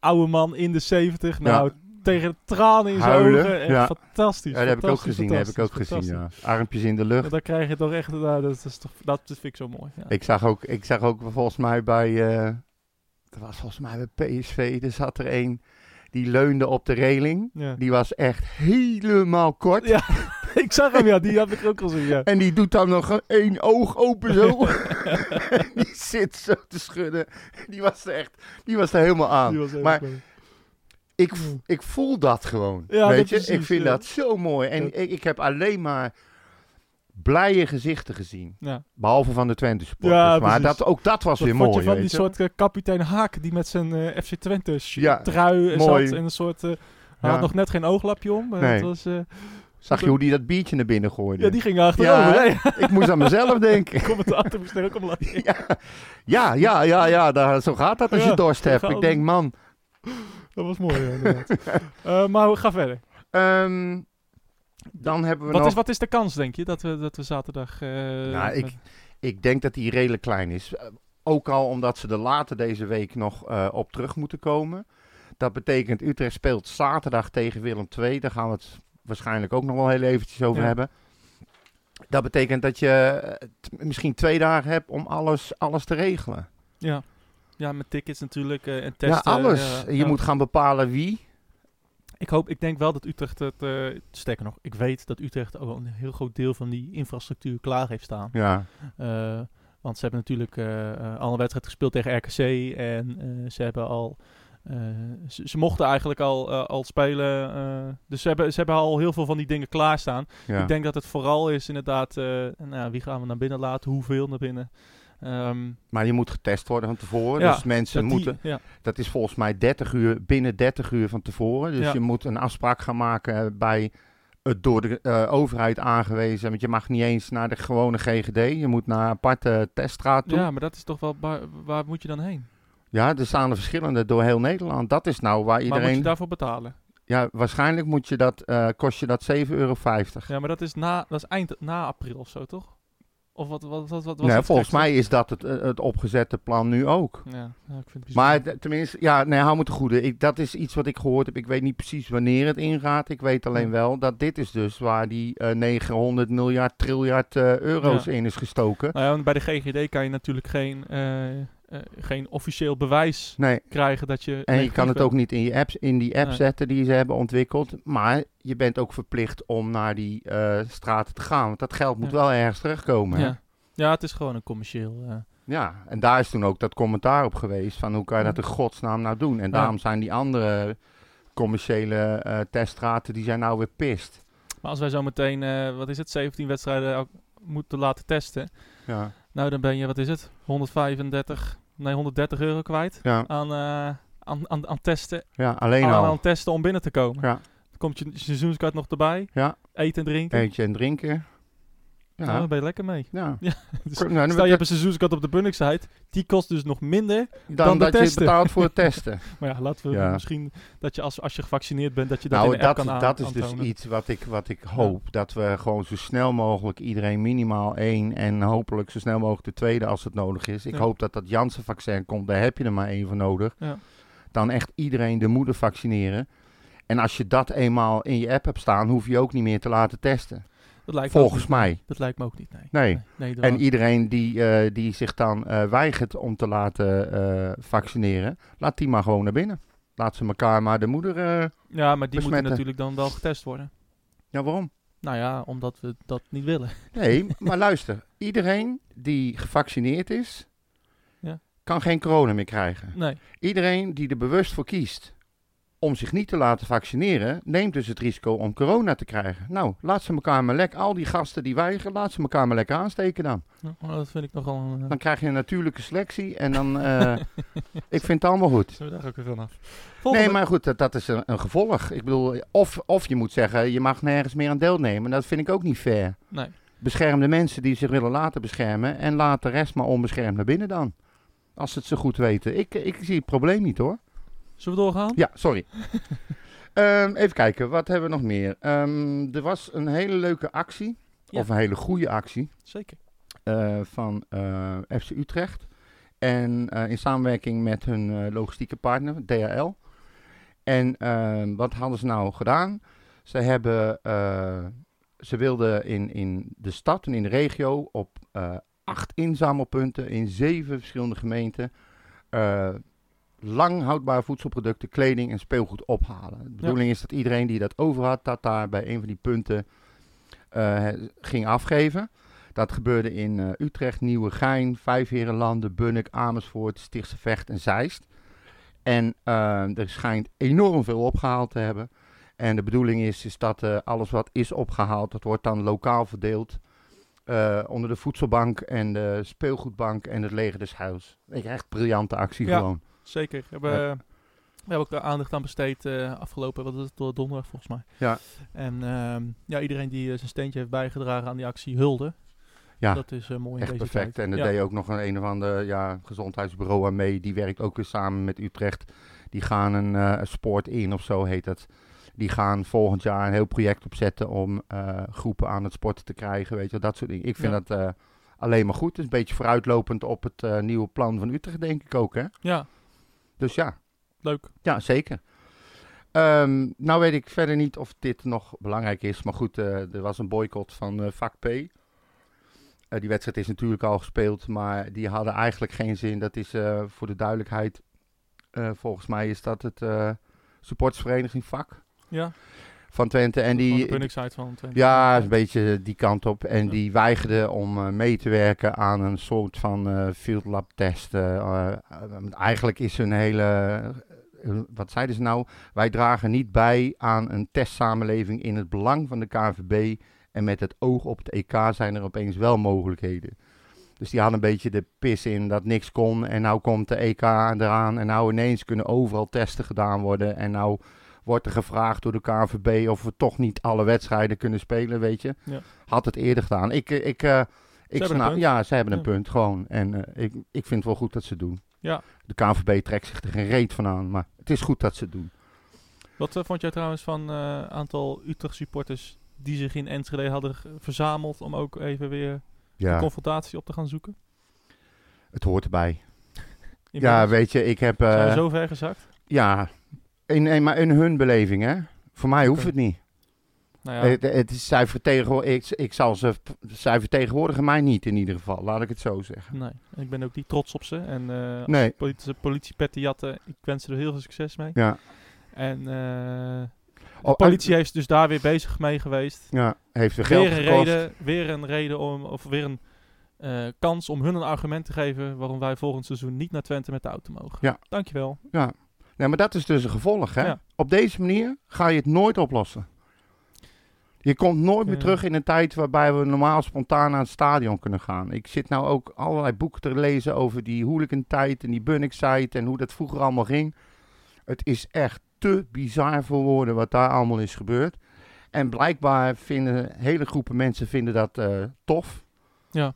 oude man in de 70. Nou, Ja. tegen de tranen in zijn Huilen, ogen. Echt ja. fantastisch. Ja, dat heb ik ook fantastisch, gezien, dat heb ik ook fantastisch, gezien. fantastisch. Ja. Armpjes in de lucht. Want dan krijg je toch echt, nou, dat, is toch, dat vind ik zo mooi. Ja. Ik zag ook, ik zag ook volgens mij bij, eh, dat was volgens mij bij PSV, er zat er een die leunde op de reling. Ja. Die was echt helemaal kort. Ja. ik zag hem, ja, die heb ik ook gezien. Ja. En die doet dan nog één oog open zo. die zit zo te schudden. Die was er echt, die was er helemaal aan. Die was heel maar- mooi. Ik, v- ik voel dat gewoon. Ja, weet dat je, precies, ik vind ja. dat zo mooi. En Ja. ik, ik heb alleen maar blije gezichten gezien. Ja. Behalve van de Twente supporters. Ja, maar precies. dat, ook dat was Wat weer vond mooi. je van weet die je. soort eh, kapitein Haak die met zijn eh, FC Twente sh- Ja, trui en mooi. zat en een soort... eh, Ja. hij had nog net geen ooglapje om. eh, Nee. het was, eh, Zag je hoe die dat biertje naar binnen gooide? ja, die ging achterover. Ja, Ja, hè? Ik moest aan mezelf denken. Commentator moest er ook om lachen. ja, ja, ja, ja, ja daar, zo gaat dat als Ja, je dorst zo hebt. gaat Ik het. denk, man, Dat was mooi, ja, inderdaad. Eh, maar we gaan verder. ehm, dan hebben we Wat nog... is, wat is de kans, denk je, dat we, dat we zaterdag... eh, Nou, ik- met- Ik denk dat die redelijk klein is. Eh, Ook al omdat ze er later deze week nog eh, op terug moeten komen. Dat betekent Utrecht speelt zaterdag tegen Willem II. Daar gaan we het waarschijnlijk ook nog wel heel eventjes over Ja. hebben. Dat betekent dat je eh, t- misschien twee dagen hebt om alles, alles te regelen. ja. ja, met tickets natuurlijk eh, en testen. ja, alles. ja, je ja. moet gaan bepalen wie. Ik hoop, ik denk wel dat Utrecht het... eh sterker nog, ik weet dat Utrecht al een heel groot deel van die infrastructuur klaar heeft staan. Ja, Eh, want ze hebben natuurlijk eh, eh, al een wedstrijd gespeeld tegen RKC. En eh, ze hebben al. eh, ze, ze mochten eigenlijk al, eh, al spelen. eh, dus ze hebben, ze hebben al heel veel van die dingen klaarstaan. ja. Ik denk dat het vooral is inderdaad. eh, nou, ja, wie gaan we naar binnen laten? Hoeveel naar binnen? Ehm, maar je moet getest worden van tevoren. Ja, dus mensen dat die- moeten... ja, Dat is volgens mij 30 uur, binnen 30 uur van tevoren. Dus Ja. je moet een afspraak gaan maken eh, bij het door de eh, overheid aangewezen. Want je mag niet eens naar de gewone GGD. Je moet naar een aparte teststraat toe. ja, Ja. maar dat is toch wel. Waar, waar moet je dan heen? er staan er verschillende door heel Nederland. Dat is nou waar Maar moet iedereen... je daarvoor betalen? Ja, waarschijnlijk moet je dat, eh, kost je dat 7,50 euro. Ja, maar dat is, na, dat is eind na april of zo, toch? Of wat, wat, wat, wat was Nee, het volgens gekste? mij is dat het, eh, het opgezette plan nu ook. Ja, ja, ik vind het bizar. Maar d- tenminste, ja, nee, hou me te goede. Ik, dat is iets wat ik gehoord heb. Ik weet niet precies wanneer het ingaat. Ik weet alleen Ja. wel dat dit is dus waar die eh, 900 miljard triljard eh, euro's Ja. in is gestoken. Nou ja, want bij de GGD kan je natuurlijk geen, eh, eh, geen officieel bewijs Nee, krijgen dat je... en je negatief kan het bent. ook niet in, je apps, in die app Nee. zetten die ze hebben ontwikkeld. Maar je bent ook verplicht om naar die eh, straten te gaan. Want dat geld moet Ja. wel ergens terechtkomen. hè? Ja. ja, het is gewoon een commercieel... eh, Ja, en daar is toen ook dat commentaar op geweest van hoe kan je dat in godsnaam nou doen? En Ja. daarom zijn die andere commerciële eh, teststraten, die zijn nou weer pist. maar als wij zo meteen, eh, wat is het, 17 wedstrijden ook moeten laten testen... Ja, Nou, dan ben je, wat is het, 135, nee, 130 euro kwijt ja, aan, eh, aan, aan, aan testen. ja alleen Aan, al. aan testen om binnen te komen. Ja. Dan komt je seizoenskaart nog erbij. Ja. Eten en drinken. Eentje en drinken. Ja, Nou, daar ben je lekker mee. ja. Ja, dus Kom, nou, Stel, je hebt een seizoenskaart op de Bunningsite. Die kost dus nog minder. dan, dan de dat je testen. betaalt voor het testen. Maar ja, laten we Ja. misschien dat je als, als je gevaccineerd bent, dat je dat in nou, de app dat, kan aan, dat is dus aantonen. iets wat ik, wat ik hoop. Dat we gewoon zo snel mogelijk iedereen minimaal één en hopelijk zo snel mogelijk de tweede als het nodig is. Ik Ja. hoop dat dat Janssen-vaccin komt, daar heb je er maar één voor nodig. Ja. Dan echt iedereen de moeder vaccineren. En als je dat eenmaal in je app hebt staan, hoef je ook niet meer te laten testen. Dat lijkt me ook Volgens mij. niet- Dat lijkt me ook niet, nee. Nee. nee dat- En iedereen die, eh, die zich dan eh, weigert om te laten eh, vaccineren, laat die maar gewoon naar binnen. Laat ze elkaar maar de moeder. eh, ja, maar die moeten besmetten. natuurlijk dan wel getest worden. ja, waarom? Nou ja, omdat we dat niet willen. Nee, maar luister. Iedereen die gevaccineerd is, Ja. kan geen corona meer krijgen. Nee. Iedereen die er bewust voor kiest om zich niet te laten vaccineren, neemt dus het risico om corona te krijgen. Nou, laat ze elkaar maar lekker, al die gasten die weigeren, laat ze elkaar maar lekker aansteken dan. Nou, dat vind ik nogal... een, eh, Dan krijg je een natuurlijke selectie en dan, eh, ik vind het allemaal goed. Zijn we daar ook weer vanaf? Nee, maar goed, dat, dat is een, een gevolg. Ik bedoel, of, of je moet zeggen, je mag nergens meer aan deelnemen. Dat vind ik ook niet fair. Nee. Bescherm de mensen die zich willen laten beschermen en laat de rest maar onbeschermd naar binnen dan. Als ze het zo goed weten. Ik, ik zie het probleem niet hoor. Zullen we doorgaan? Ja, sorry. Ehm, even kijken, wat hebben we nog meer? Ehm, er was een hele leuke actie, Ja. of een hele goede actie, Zeker. eh, van eh, FC Utrecht. En eh, in samenwerking met hun eh, logistieke partner, DHL. En ehm, wat hadden ze nou gedaan? Ze, hebben, eh, ze wilden in, in de stad en in de regio op eh, acht inzamelpunten in zeven verschillende gemeenten eh, lang houdbare voedselproducten, kleding en speelgoed ophalen. De bedoeling is dat iedereen die dat over had, dat daar bij een van die punten eh, ging afgeven. Dat gebeurde in eh, Utrecht, Nieuwegein, Vijfherenlanden, Bunnik, Amersfoort, Stichtse Vecht en Zeist. En eh, er schijnt enorm veel opgehaald te hebben. En de bedoeling is, is dat eh, alles wat is opgehaald, dat wordt dan lokaal verdeeld. eh, onder de voedselbank en de speelgoedbank en het leger des huis. Ik- Echt briljante actie Ja. gewoon. Zeker. We hebben, eh, we hebben ook de aandacht aan besteed eh, afgelopen, wat is het, door donderdag volgens mij. Ja. En ehm, ja, iedereen die eh, zijn steentje heeft bijgedragen aan die actie hulde. Ja, Dat is eh, mooi in Echt deze perfect. tijd. En er ja. deed ook nog een, een of ander ja, gezondheidsbureau aan mee. Die werkt ook weer samen met Utrecht. Die gaan een eh, sport in of zo heet dat. Die gaan volgend jaar een heel project opzetten om eh, groepen aan het sporten te krijgen. Weet je, wel, dat soort dingen. Ik vind Ja. dat eh, alleen maar goed. Het is een beetje vooruitlopend op het eh, nieuwe plan van Utrecht, denk ik ook. Hè? Ja, Dus ja, leuk. ja zeker. Ehm, nou weet ik verder niet of dit nog belangrijk is. Maar goed, eh, er was een boycott van eh, vak P. Eh, die wedstrijd is natuurlijk al gespeeld, maar die hadden eigenlijk geen zin. Dat is eh, voor de duidelijkheid, eh, volgens mij is dat het eh supportersvereniging vak Ja, van Twente. En die, die, de site van Twente. ja, een beetje die kant op. En Ja. die weigerden om eh, mee te werken aan een soort van eh, field lab test. eh, eh, eh, eigenlijk is hun hele... eh, wat zeiden ze nou? Wij dragen niet bij aan een testsamenleving in het belang van de KNVB. En met het oog op het EK zijn er opeens wel mogelijkheden. Dus die hadden een beetje de pis in dat niks kon. En nou komt de EK eraan. En nou ineens kunnen overal testen gedaan worden. En nou wordt er gevraagd door de KNVB of we toch niet alle wedstrijden kunnen spelen, weet je. Ja. Had het eerder gedaan. Ik, eh, ik, eh, ik hebben een snap, punt. ja, ze hebben een Ja. punt gewoon. En eh, ik, ik vind het wel goed dat ze het doen. Ja. De KNVB trekt zich er geen reet van aan, maar het is goed dat ze het doen. Wat eh, vond jij trouwens van eh aantal Utrecht supporters die zich in Enschede hadden ge- verzameld om ook even weer de Ja, confrontatie op te gaan zoeken? het hoort erbij. Ja, Inmiddels weet je, ik heb... eh, zijn we zo ver gezakt? Ja, in, in, maar in hun beleving, hè. Voor mij hoeft Oké. het niet. Nou ja, Het, Eh, het is, zij, vertegenwoor- ik, ik zal ze, zij vertegenwoordigen mij niet in ieder geval, laat ik het zo zeggen. nee. En Ik ben ook niet trots op ze. En eh, Nee, politie, politiepetten jatten, ik wens ze er heel veel succes mee. ja. En eh, de Oh, politie heeft dus daar weer bezig mee geweest. Ja, heeft er geld Weer een, gekost. reden, weer een reden om, of weer een eh, kans om hun een argument te geven waarom wij volgend seizoen niet naar Twente met de auto mogen. Ja. Dankjewel. Ja, maar dat is dus een gevolg, hè. Ja. Op deze manier ga je het nooit oplossen. Je komt nooit meer Ja. terug in een tijd waarbij we normaal spontaan naar het stadion kunnen gaan. Ik zit nou ook allerlei boeken te lezen over die hooligan-tijd en die bunnik-tijd en hoe dat vroeger allemaal ging. Het is echt te bizar voor woorden wat daar allemaal is gebeurd. En blijkbaar vinden hele groepen mensen vinden dat eh, tof. Ja.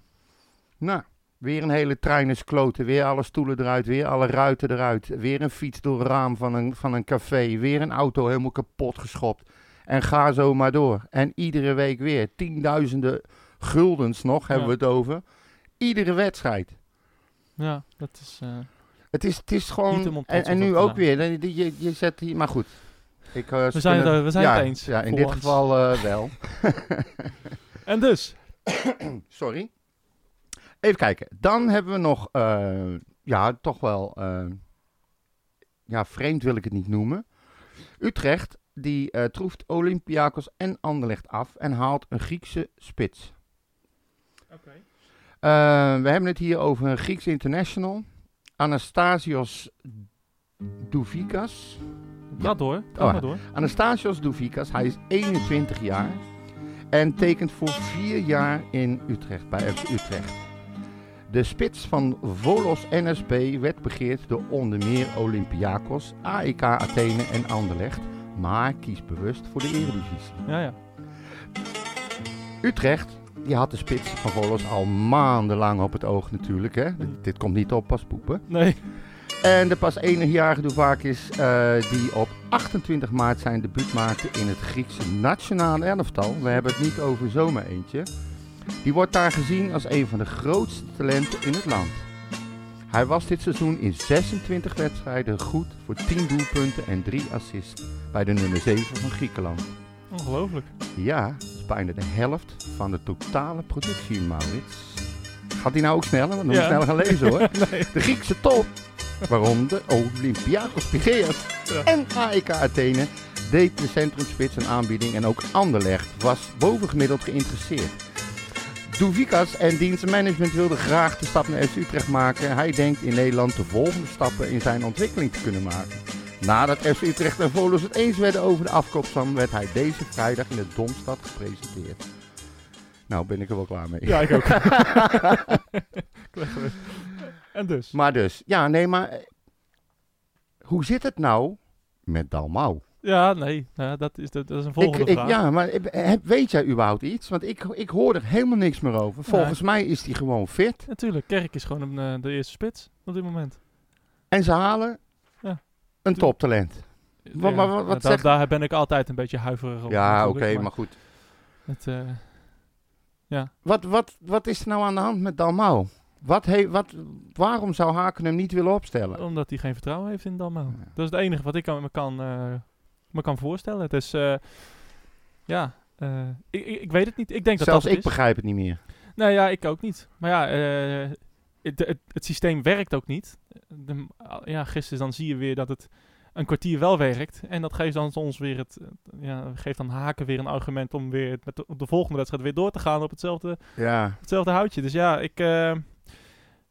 Nou, weer een hele trein is kloten, weer alle stoelen eruit, weer alle ruiten eruit. Weer een fiets door het raam van een, van een café, weer een auto helemaal kapot geschopt. En ga zo maar door. En iedere week weer. Tienduizenden guldens nog, hebben Ja. we het over. Iedere wedstrijd. Ja, dat is... eh, Het is, het is Niet om gewoon... op En, trots en op nu te ook zijn. weer. Je, je, je zet hier... Maar goed. Ik, eh, we ze zijn, het, kunnen- eh, we zijn ja, het eens. Ja, in voor dit ons. geval eh, wel. En dus, Sorry. Even kijken. Dan hebben we nog... eh, ja, toch wel... eh, ja, vreemd wil ik het niet noemen. Utrecht, die eh, troeft Olympiakos en Anderlecht af... en haalt een Griekse spits. Eh, we hebben het hier over een Grieks international. Anastasios Douvikas. ga door. Ga Oh, maar door. Anastasios Douvikas, hij is 21 jaar. En tekent voor vier jaar in Utrecht, bij FC Utrecht. De spits van Volos NSP werd begeerd door onder meer Olympiakos, AEK Athene en Anderlecht. Maar kiest bewust voor de Eredivisie. Ja, ja. Utrecht, die had de spits van Volos al maandenlang op het oog natuurlijk. Hè? Dit, dit komt niet op pas poepen. Nee. En de pas 1-jarige Douvakis, eh, die op 28 maart zijn debuut maakte in het Griekse nationale elftal. We hebben het niet over zomaar eentje. Die wordt daar gezien als een van de grootste talenten in het land. Hij was dit seizoen in 26 wedstrijden goed voor 10 doelpunten en 3 assists bij de nummer 7 van Griekenland. Ongelooflijk. Ja, dat is bijna de helft van de totale productie, Maurits. Gaat die nou ook sneller? Want dan moet ik Ja. sneller gaan lezen hoor. Nee. De Griekse top, waaronder Olympiakos Piraeus Ja. en AEK Athene, deed de centrumspits een aanbieding en ook Anderlecht was bovengemiddeld geïnteresseerd. Doevikas en dienstmanagement wilden graag de stap naar FC Utrecht maken. Hij denkt in Nederland de volgende stappen in zijn ontwikkeling te kunnen maken. Nadat FC Utrecht en Volos het eens werden over de afkoopsom, werd hij deze vrijdag in de Domstad gepresenteerd. Nou, ben ik er wel klaar mee. Ja, ik ook. Krijgen we. en dus. Maar dus, ja, nee, maar eh, hoe zit het nou met Dalmau? Ja, nee. nou, dat, is, dat, dat is een Ik, volgende ik, vraag. ja, maar ik- heb, weet jij überhaupt iets? Want ik, ik hoor er helemaal niks meer over. Volgens mij is hij gewoon fit. Natuurlijk, Kerk is gewoon een, eh, de eerste spits op dit moment. En ze halen Ja. een toptalent. Wa- wa- wa- wat Nou, da- zegt- Daar ben ik altijd een beetje huiverig op. Ja, oké, natuurlijk, maar goed. het, eh, Wat, wat, wat is er nou aan de hand met Dalmau? Wat he, wat, waarom zou Haken hem niet willen opstellen? omdat hij geen vertrouwen heeft in Dalmau. Ja. Dat is het enige wat ik aan me kan, eh, me kan voorstellen. Het is, eh, ja, eh, ik, ik, ik weet het niet. Ik denk dat Zelfs dat het ik is. begrijp het niet meer. Nee, ja, ik ook niet. Maar ja, eh, het, het, het systeem werkt ook niet. De, ja, gisteren dan zie je weer dat het een kwartier wel werkt. En dat geeft dan ons weer het, eh, ja, geeft dan haken weer een argument om weer het met de, op de volgende wedstrijd weer door te gaan op hetzelfde, Ja, hetzelfde houtje. Dus ja, ik, eh,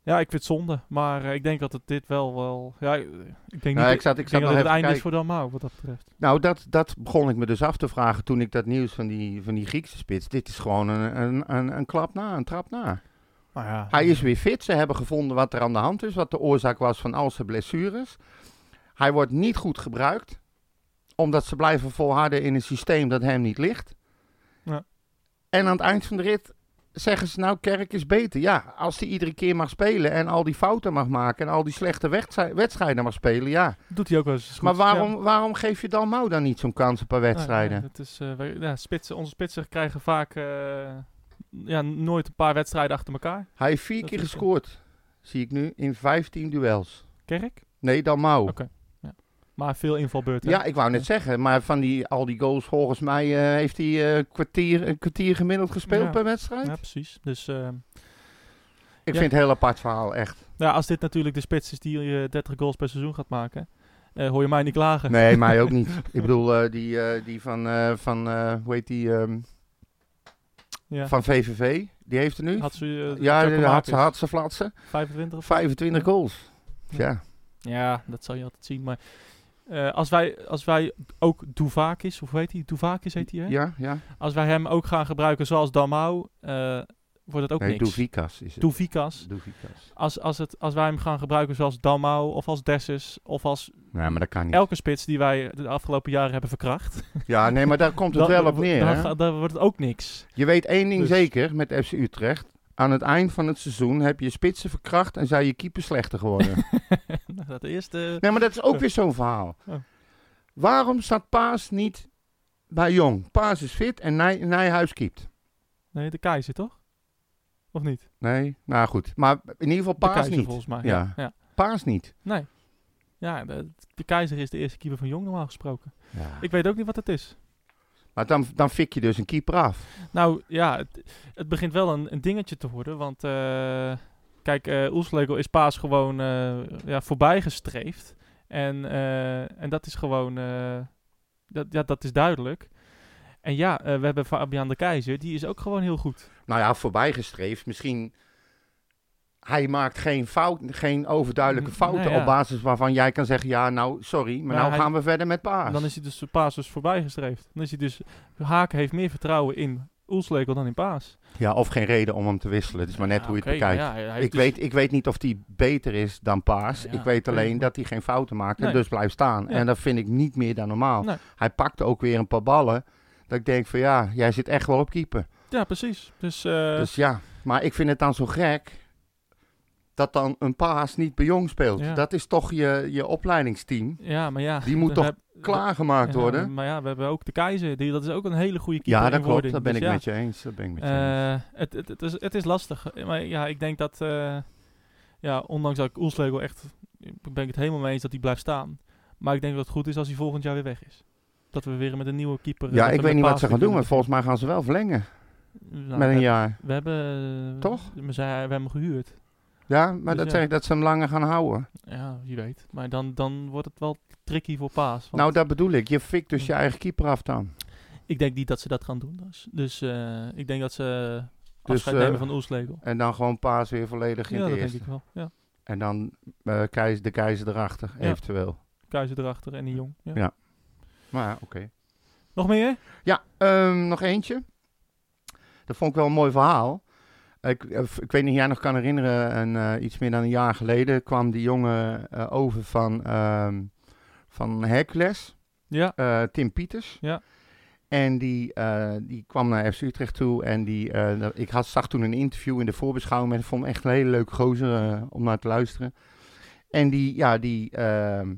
ja, ik vind het zonde. Maar eh, ik denk dat het dit wel wel. Ja, ik ik denk nou, niet. ik zat, ik ik zat denk nog dat het even einde kijken. is voor Dalmau, wat dat betreft. Nou, dat, dat begon ik me dus af te vragen toen ik dat nieuws van die, van die Griekse spits. Dit is gewoon een, een, een, een klap na, een trap na. Maar ja, Hij is weer fit. Ze hebben gevonden wat er aan de hand is, wat de oorzaak was van al zijn blessures. Hij wordt niet goed gebruikt, omdat ze blijven volharden in een systeem dat hem niet ligt. Ja. En aan het eind van de rit zeggen ze nou, Kerk is beter. Ja, als hij iedere keer mag spelen en al die fouten mag maken en al die slechte wedstrij- wedstrijden mag spelen, ja. doet hij ook wel eens. goed. Maar Ja. Nou, waarom, waarom geef je Dalmau dan niet zo'n kans een paar Ja, wedstrijden? Ja, het is, eh, wij- ja, spitsen, onze spitsen krijgen vaak eh, ja, nooit een paar wedstrijden achter elkaar. Hij heeft vier Dat keer is, eh, gescoord, zie ik nu, in 15 duels. Kerk, Nee, Dalmau. Oké. maar veel invalbeurten. Ja, ik wou net zeggen, maar van die, al die goals, volgens mij eh, heeft hij eh, kwartier, een kwartier gemiddeld gespeeld Ja. per wedstrijd. Ja, precies. Dus eh, Ik Ja. vind het een heel apart verhaal, echt. ja, als dit natuurlijk de spits is die je 30 goals per seizoen gaat maken, eh, hoor je mij niet klagen. Nee, mij ook niet. Ik bedoel, eh, die, eh, die van, eh, van eh, hoe heet die, ehm, Ja. van VVV, die heeft er nu. Had ze, eh, ja, Jacco de hardste, Marcus, hardste flatsen. 25 of 25 goals. Ja. Ja. Ja, dat zal je altijd zien. Maar eh, als, wij, als wij ook Duvakis, of weet hij? Duvakis heet hij, hè? Ja, ja. Als wij hem ook gaan gebruiken zoals Damau, eh, wordt het ook Nee, niks. Doevikas is het. Duvikas. Doevikas. Als, als, het, als wij hem gaan gebruiken zoals Damau, of als Dessus, of als Nee, maar dat kan niet. elke spits die wij de afgelopen jaren hebben verkracht. Ja, nee, maar daar komt het wel op neer. Dan, hè? ga- dan wordt het ook niks. Je weet één ding Dus- zeker met FC Utrecht. Aan het eind van het seizoen heb je spitsen verkracht en zijn je keeper slechter geworden. Nou, dat eerste... nee, maar dat is ook weer zo'n verhaal. Ja. Waarom staat Paas niet bij Jong? Paas is fit en Nij Nijhuis keept. Nee, de keizer, toch? Of niet? Nee, nou goed. Maar in ieder geval de Paas keizer, niet. volgens mij. Ja. ja. Paas niet. Nee. Ja, de, de keizer is de eerste keeper van Jong normaal gesproken. Ja. Ik weet ook niet wat het is. Maar dan, dan fik je dus een keeper af. Nou ja, het, het begint wel een, een dingetje te worden. Want eh, kijk, eh Oelslegel is Paas gewoon eh, ja, voorbij gestreefd. En, eh, en dat is gewoon, eh, dat, ja, dat is duidelijk. En ja, eh, we hebben Fabian de Keizer, die is ook gewoon heel goed. Nou ja, voorbijgestreefd. Misschien. Hij maakt geen, fout, geen overduidelijke Nee, fouten nou ja. op basis waarvan jij kan zeggen: ja, nou, sorry, maar Maar nou hij- gaan we verder met Paas. En dan is hij dus Paas dus voorbij gestreefd. Dan is hij dus, Haken heeft meer vertrouwen in Oelslegel dan in Paas. Ja, of geen reden om hem te wisselen. Het is maar net hoe je het Oké, maar bekijkt. ja, hij heeft ik, dus- weet, ik weet niet of hij beter is dan Paas. Ja, ik weet oké, alleen maar- dat hij geen fouten maakt en Nee. dus blijft staan. Ja. En dat vind ik niet meer dan normaal. Nee. Hij pakte ook weer een paar ballen. Dat ik denk van ja, jij zit echt wel op keeper. Ja, precies. Dus, eh, Dus ja, maar ik vind het dan zo gek dat dan een Paas niet bij Jong speelt. Ja. Dat is toch je, je opleidingsteam. ja, maar ja. Die moet we toch heb- Klaargemaakt Ja, worden. Maar ja, we hebben ook de keizer. Die, dat is ook een hele goede keeper. Ja, in dat klopt. wording. Dat ben Dus ik ja, met je eens. Dat ben ik met je eens. eh, het, het, het, is, het is lastig. Eh, Maar ja, ik denk dat... eh, ja, ondanks dat ik Oelslegel echt... Ben ik het helemaal mee eens dat hij blijft staan. Maar ik denk dat het goed is als hij volgend jaar weer weg is. Dat we weer met een nieuwe keeper... eh, Ja, dat ik we weet niet met wat ze gaan Paas doen, maar weer volgens mij gaan ze wel verlengen kunnen- Nou, met een we- jaar. We hebben... eh, Toch? We, zijn, we hebben hem gehuurd. Ja, maar dus dat ja. zeg ik dat ze hem langer gaan houden. Ja, wie weet. Maar dan, dan wordt het wel tricky voor Paas. want- Nou, dat bedoel ik. Je fikt dus je eigen keeper af dan. Ik denk niet dat ze dat gaan doen. Dus, dus eh, ik denk dat ze Dus, afscheid eh, nemen van Oelslegel. En dan gewoon Paas weer volledig in Ja, de dat denk eerste. ik wel. Ja. En dan eh, keizer, de keizer erachter, Ja. eventueel. Keizer erachter en die jong. Ja. Ja. Maar ja, oké. Nog meer? Ja, ehm, nog eentje. Dat vond ik wel een mooi verhaal. Ik, eh, f- ik weet niet of jij nog kan herinneren, en, eh, iets meer dan een jaar geleden kwam die jongen eh, over van, ehm, van Hercules. Ja. eh, Tim Pieters. Ja. En die, eh, die kwam naar FC Utrecht toe. En die, eh, dat- ik had, zag toen een interview in de voorbeschouwing. En ik vond hem echt een hele leuke gozer eh, om naar te luisteren. En die, ja, die ehm,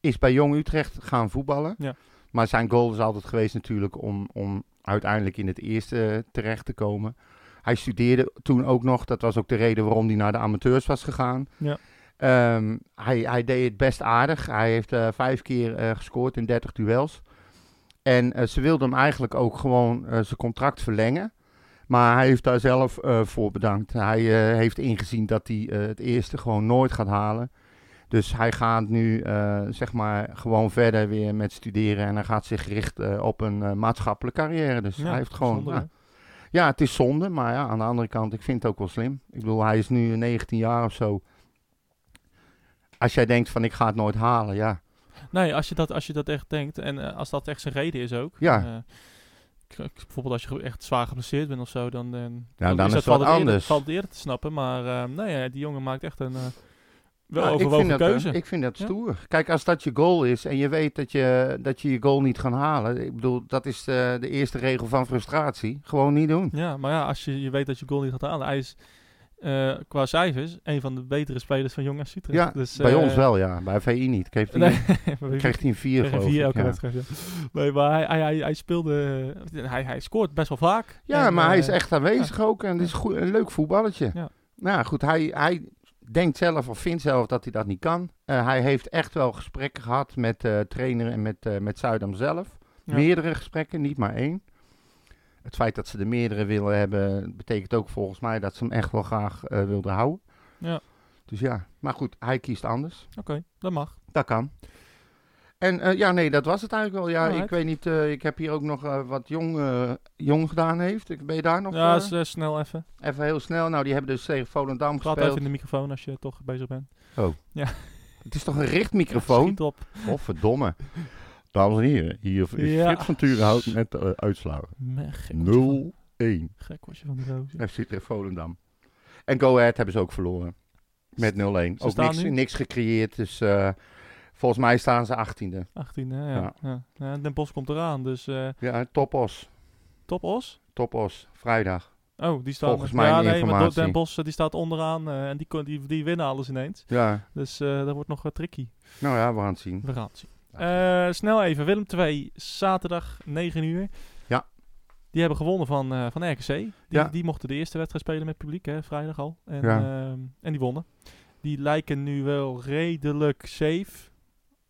is bij Jong Utrecht gaan voetballen. Ja. Maar zijn goal is altijd geweest natuurlijk om, om uiteindelijk in het eerste eh, terecht te komen. Hij studeerde toen ook nog. Dat was ook de reden waarom hij naar de amateurs was gegaan. Ehm, hij, hij deed het best aardig. Hij heeft eh, vijf keer eh, gescoord in 30 duels. En eh, ze wilden hem eigenlijk ook gewoon eh, zijn contract verlengen. Maar hij heeft daar zelf eh, voor bedankt. Hij eh, heeft ingezien dat hij eh, het eerste gewoon nooit gaat halen. Dus hij gaat nu eh, zeg maar gewoon verder weer met studeren. En hij gaat zich richten eh, op een eh, maatschappelijke carrière. Dus Ja, hij heeft gewoon. bijzonder, ja. hè? Ja, het is zonde, maar ja, aan de andere kant, ik vind het ook wel slim. Ik bedoel, hij is nu 19 jaar of zo. Als jij denkt van ik ga het nooit halen, ja. Nee, als je, dat, als je dat echt denkt en eh, als dat echt zijn reden is ook. Ja. eh, k- k- bijvoorbeeld als je ge- echt zwaar geblesseerd bent of zo, dan, eh, Nou, dan is het wel wat eerder, anders. valt het eerder te snappen, maar eh, nee, eh, die jongen maakt echt een eh, wel Nou, ik, vind overwogen dat, eh, keuze. ik vind dat Ja. stoer. Kijk, als dat je goal is en je weet dat je dat je, je goal niet gaat halen. Ik bedoel, dat is eh, de eerste regel van frustratie. Gewoon niet doen. Ja, maar ja, als je, je weet dat je goal niet gaat halen, hij is eh, qua cijfers een van de betere spelers van Jong FC Utrecht. Ja, dus, bij eh, ons wel, ja. Bij VI niet. Kreeg hij Nee, kreeg hij een 4, Tegen geloof vier ik. elke Ja, wedstrijd. ja. Nee, maar hij, hij, hij, hij speelde. eh, Hij, hij scoort best wel vaak. ja En, maar hij eh, is echt aanwezig ook. En het is goed, een leuk voetballetje. Ja. Nou goed, hij, hij denkt zelf of vindt zelf dat hij dat niet kan. Eh, hij heeft echt wel gesprekken gehad met eh trainer en met, eh met Zuidam zelf. Ja. Meerdere gesprekken, niet maar één. Het feit dat ze er meerdere willen hebben, betekent ook volgens mij dat ze hem echt wel graag eh, wilden houden. Ja. Dus ja, maar goed, hij kiest anders. Oké, dat mag. Dat kan. En eh, ja, nee, dat was het eigenlijk wel. Ja, ik Alright. weet niet, eh, ik heb hier ook nog eh, wat jong, eh, jong gedaan heeft. Ik- Ben je daar nog? ja, eh, s- eh, snel even. even heel snel. Nou, die hebben dus tegen Volendam Praat gespeeld. even in de microfoon als je toch bezig bent. Het is toch een richtmicrofoon? Schiet op. Oh, verdomme. Dames en heren, hier is Ja. Frits van Turenhout met eh, uitslagen. Me- Gek was je van- 0-1. Gek was je van die roos. FC tegen Volendam. En Go Ahead hebben ze ook verloren. Met 0-1. Ook staan niks, nu? niks gecreëerd. Dus eh, volgens mij staan ze 18e. 18, hè, ja. Ja. Ja. Ja, Den Bos komt eraan, dus eh Ja, topos. top os. Topos. Vrijdag. Oh, die staat Volgens mijn ja, nee, maar informatie. Den Bos die staat onderaan eh, en die, kon- die, die winnen alles ineens. Ja. Dus eh, dat wordt nog wat tricky. Nou ja, we gaan het zien. We gaan het zien. Eh, snel even, Willem 2, zaterdag 9 uur. Ja. Die hebben gewonnen van, eh, van RKC. Die, Ja. die mochten de eerste wedstrijd spelen met publiek, hè, vrijdag al. En, Ja. ehm, en die wonnen. Die lijken nu wel redelijk safe.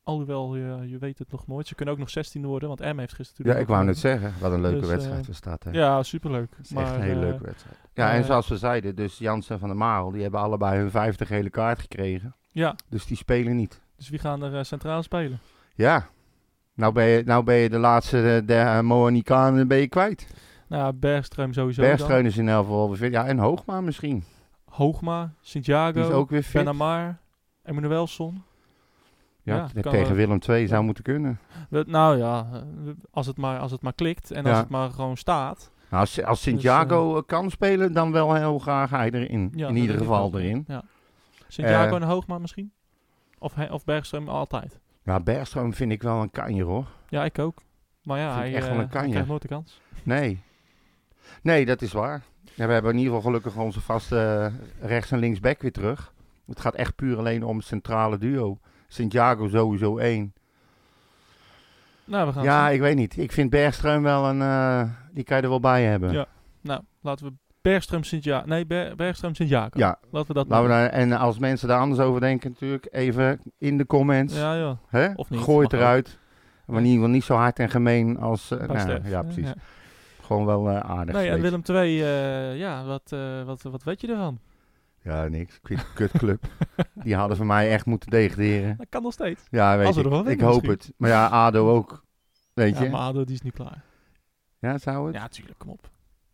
Alhoewel, je, je weet het nog nooit. Ze kunnen ook nog 16 worden, want M heeft gisteren ja, natuurlijk ik ook wou net gewonnen. zeggen, wat een leuke Dus, eh, wedstrijd was dat. Hè. Ja, superleuk. Het is maar, echt een hele eh, leuke wedstrijd. Ja, en eh, zoals we zeiden, dus Jansen en Van der Marel, die hebben allebei hun 50 gele kaart gekregen. Ja, Dus die spelen niet. dus wie gaan er eh, centraal spelen? Ja, nou ben je, nou ben je de laatste, eh, de eh, Moanikanen ben je kwijt. Nou, Bergström sowieso Bergstreun is in elk geval weer fit. Ja, en Hoogma misschien. dan. Hoogma, Die is Santiago, ook weer fit. Benamar, Emmanuelson. ja, ja, te- kan tegen wel. Willem II zou Ja. moeten kunnen. We- nou ja, eh, we- als het maar, als het maar klikt en als Ja. het maar gewoon staat. Nou, als, als Dus, Santiago eh, kan spelen, dan wel heel graag hij erin. Ja, in dat ieder denk ik geval wel. erin. Ja. Santiago Eh, en Hoogma misschien? Of, hij- of Bergström altijd? Nou, Bergstreun vind ik wel een kanjer hoor. Ja, ik ook. Maar ja, Vind ik hij, echt wel eh, een kanjer. hij krijgt nooit de kans. Nee. Nee, dat is waar. Ja, we hebben in ieder geval gelukkig onze vaste eh, rechts- en linksback weer terug. Het gaat echt puur alleen om het centrale duo. Santiago sowieso één. Nou, we gaan Ja, het ik weet niet. Ik vind Bergström wel een... eh, die kan je er wel bij hebben. Ja. zien. Nou, laten we Bergström Santiago... Nee, Ber Bergström Santiago. Ja, Laten we dat laten we doen. daar- en als mensen daar anders over denken natuurlijk, even in de comments. Ja, ja. hè? Of niet, Gooi het mag eruit. Maar in ieder geval niet zo hard en gemeen als... eh, nou, Sterf, ja, hè? precies. Gewoon wel eh, aardig. Nee, en weet je. Willem II, eh, ja, wat, eh, wat, wat weet je ervan? Ja, niks. Ik vind het een kutclub. die hadden voor mij echt moeten degraderen. Dat kan nog steeds. Ja, weet Als we ik. er wel ik winnen hoop misschien. het. Maar ja, ADO ook. Weet Ja, je? maar ADO, die is nu klaar. Ja, zou het? Ja, tuurlijk, kom op.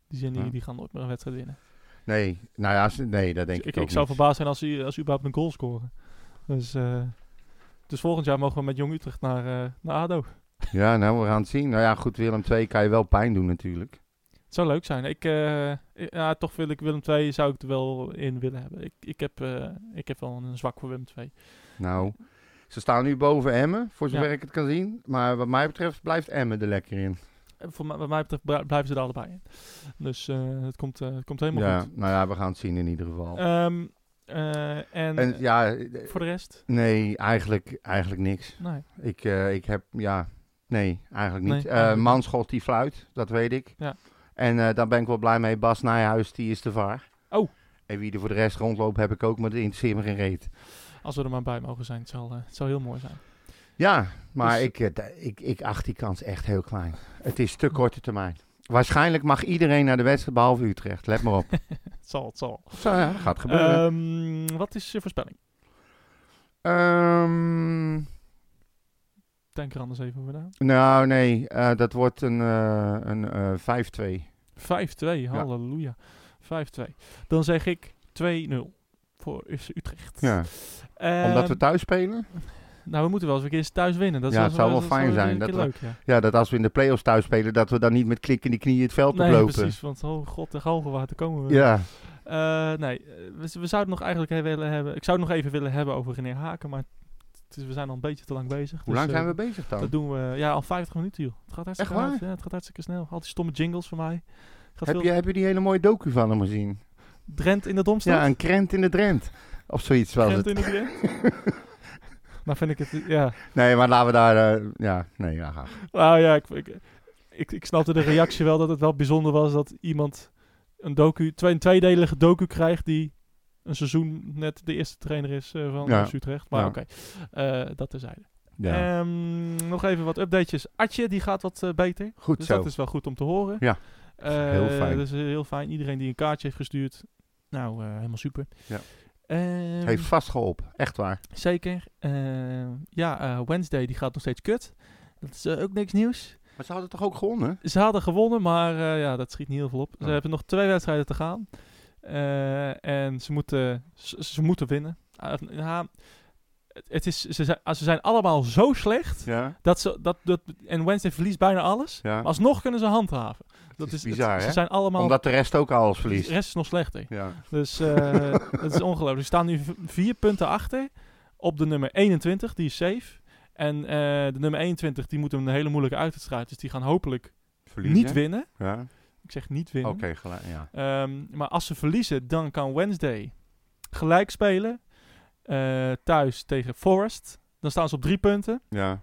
Die, zijn, die, Ja. die gaan nooit meer een wedstrijd winnen. Nee, nou ja, ze- nee, dat denk ik, ik, ook ik zou niet. verbaasd zijn als ze, als ze überhaupt een goal scoren. Dus, eh, dus volgend jaar mogen we met Jong Utrecht naar, eh, naar ADO. Ja, nou, we gaan het zien. Nou ja, goed, Willem 2 kan je wel pijn doen natuurlijk. Het zou leuk zijn. Ik, eh, ik- ja, toch wil ik Willem II zou ik er wel in willen hebben. Ik, ik, heb, eh, ik heb wel een zwak voor Willem II. Nou, ze staan nu boven Emmen, voor zover Ja. ik het kan zien. Maar wat mij betreft blijft Emmen er lekker in. En Eh, Voor mij, wat mij betreft bra- blijven ze er allebei in. Dus eh, het, komt, eh, het komt helemaal Ja, goed. nou ja, we gaan het zien in ieder geval. Ehm, eh, en en ja, eh, voor de rest? nee, eigenlijk, eigenlijk niks. Nee. Ik, eh, ik heb, ja, nee, eigenlijk niet. Nee, Eh, eigenlijk niet. Manschot die fluit, dat weet ik. Ja. En eh, daar ben ik wel blij mee. Bas Nijhuis, die is de vaar. Oh. En wie er voor de rest rondloopt, heb ik ook, maar dat interesseert me geen reet. Als we er maar bij mogen zijn, het zal, eh, het zal heel mooi zijn. Ja, maar Dus- ik, eh, d- ik, ik acht die kans echt heel klein. Het is te korte termijn. Waarschijnlijk mag iedereen naar de wedstrijd, behalve Utrecht. Let maar op. Het zal, het zal. Zo, ja, dat gaat gebeuren. Ehm, wat is je voorspelling? Ehm, Denk er anders even over na. nou, nee, eh, dat wordt een, eh, een eh, 5-2. 5-2, halleluja. 5-2. Dan zeg ik 2-0 voor FC Utrecht. Ja. Ehm, Omdat we thuis spelen? nou, we moeten wel eens een keer eens thuis winnen. Dat Ja, is het zou wel dat fijn weer zijn een keer dat we- leuk, ja. Ja, dat als we in de play-offs thuis spelen, dat we dan niet met klik in die knieën het veld Nee, oplopen. precies. Want, oh god, de galgenwater komen we. Ja, Eh, nee, eh, we, z- we zouden het nog eigenlijk he- willen hebben... Ik zou het nog even willen hebben over René Haken, maar het is, we zijn al een beetje te lang bezig. dus, eh, hoe lang zijn we bezig dan? Dat doen we... Ja, al 50 minuten, joh. Het gaat hartstikke Echt waar? hard, ja, het gaat hartstikke snel. Al die stomme jingles voor mij. Het Gaat Heb veel- je, heb je die hele mooie docu van hem gezien? Drent in de Domstad? Ja, een krent in de Drent. Of zoiets was Drent het. in de Drent? nou vind ik het, ja. Nee, maar laten we daar... eh, ja, nee, ja. ga. Nou ja, ik, ik, ik, ik snapte de reactie wel dat het wel bijzonder was dat iemand een, docu, twee, een tweedelige docu krijgt die een seizoen net de eerste trainer is eh, van Ja. FC Utrecht. Maar Ja. oké, eh, dat terzijde. Ja. Ehm, nog even wat updatejes. Atje, die gaat wat eh, beter. Goed Dus zo. dat is wel goed om te horen. Ja. Eh, Heel fijn. Dat is heel fijn. Iedereen die een kaartje heeft gestuurd. Nou, eh, helemaal super. Ja. Ehm, Heeft vast geholpen. Echt waar. Zeker. Ehm, ja, eh, Wednesday die gaat nog steeds kut. Dat is eh, ook niks nieuws. Maar ze hadden toch ook gewonnen? Ze hadden gewonnen, maar eh, ja, dat schiet niet heel veel op. Ze Ja. hebben nog twee wedstrijden te gaan. Eh, en ze moeten, ze, ze moeten winnen. Ah, of- ja, het, het is, ze, zijn, ah, ze zijn allemaal zo slecht. Ja. Dat ze, dat, dat, en Wednesday verliest bijna alles. Ja. Maar alsnog kunnen ze handhaven. Dat is is, het- Dus, bizar, hè? Ze zijn allemaal... Omdat de rest ook alles de verliest. rest is nog slechter. Ja. Dus eh dat is ongelooflijk. Ze staan nu v- vier punten achter op de nummer 21, die is safe. En eh, de nummer 21, die moet een hele moeilijke uitwedstrijd. Dus die gaan hopelijk Verliezen. niet winnen. Ja. Ik zeg niet winnen. Oké, gelijk. Ja. Ehm, maar als ze verliezen, dan kan Wednesday gelijk spelen. eh, thuis tegen Forest. Dan staan ze op drie punten. ja.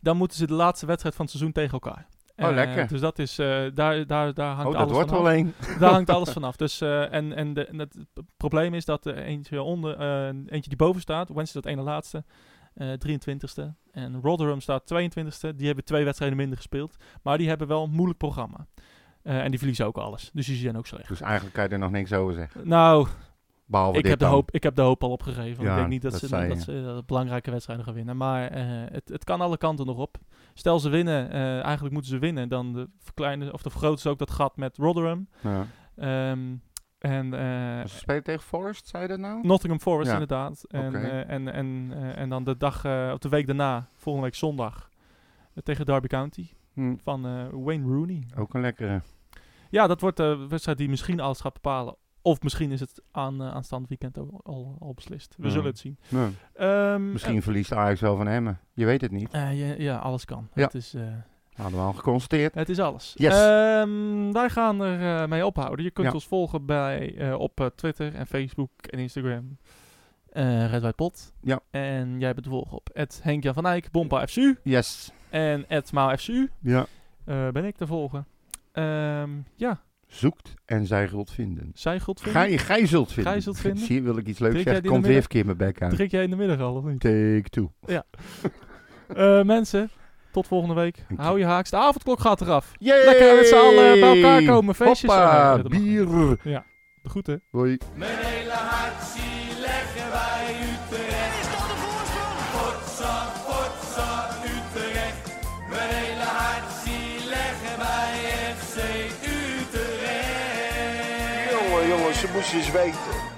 Dan moeten ze de laatste wedstrijd van het seizoen tegen elkaar. Oh, Eh, lekker. Dus dat is, eh, daar, daar, daar hangt Oh, dat alles wordt van af. wel één. Daar hangt alles vanaf. Dus, eh, en en, de, en het p- probleem is dat er eentje, onder, eh, eentje die boven staat, Wednesday dat ene laatste, eh 23ste. En Rotherham staat 22ste. Die hebben twee wedstrijden minder gespeeld. Maar die hebben wel een moeilijk programma. Eh, en die verliezen ook alles. Dus die zijn ook slecht. Dus eigenlijk kan je er nog niks over zeggen. Nou, Behalve ik Oh, dit heb, de dan. hoop, ik heb de hoop al opgegeven. Ja, ik denk niet dat, dat ze, zei je. dat ze eh, belangrijke wedstrijden gaan winnen. Maar eh, het, het kan alle kanten nog op. Stel ze winnen, eh, eigenlijk moeten ze winnen. Dan de verkleinen, of de vergroten ze ook dat gat met Rotherham. Ja. Ehm, en eh, Ze spelen tegen Forest, zei je dat nou? Nottingham Forest Ja. inderdaad. En, Oké. eh, en, en, eh, en dan de dag, eh, of de week daarna, volgende week zondag, eh, tegen Derby County Hm, van eh, Wayne Rooney. Ook een lekkere. Ja, dat wordt eh, de wedstrijd die misschien alles gaat bepalen. Of misschien is het aan, eh aanstaand weekend ook al, al beslist. We Ja. zullen het zien. Ja. Ehm, Mhm. Misschien verliest Ajax wel van Emmen. Je weet het niet. eh, eh, ja, ja, alles kan. Ja. Het, is, eh, Hadden we al geconstateerd. het is alles. Yes. Ehm, wij gaan er eh, mee ophouden. Je kunt Ja. ons volgen bij, eh, op eh, Twitter en Facebook en Instagram. eh Red White Pot. Ja. En jij bent te volgen op Henk-Jan van Eyck, Bompa FCU. Yes. En @maalfcu Ja. eh, ben ik te volgen. Ehm, ja, Zoekt en zij zult vinden. zij goed vinden. Gij, gij zult vinden. Gij zult vinden. Zie je, wil ik iets leuks Drink jij zeggen. die in Komt de weer verkeerd mijn bek uit. Drink jij in de middag al of niet? Take two. Eh, mensen, tot volgende week. Dank je. Hou je haaks. De avondklok gaat eraf. Yay! Lekker met z'n allen bij elkaar komen, feestjes. Hoppa, Eh, dat mag niet. bier. De groeten. Hoi. Mijn hele hart zie leggen wij Utrecht. Is dat de voorsprong? Potsa, potsa, Utrecht. Mijn hele hart zie leggen wij FC Utrecht. Jongen, jongen, ze moest eens weten.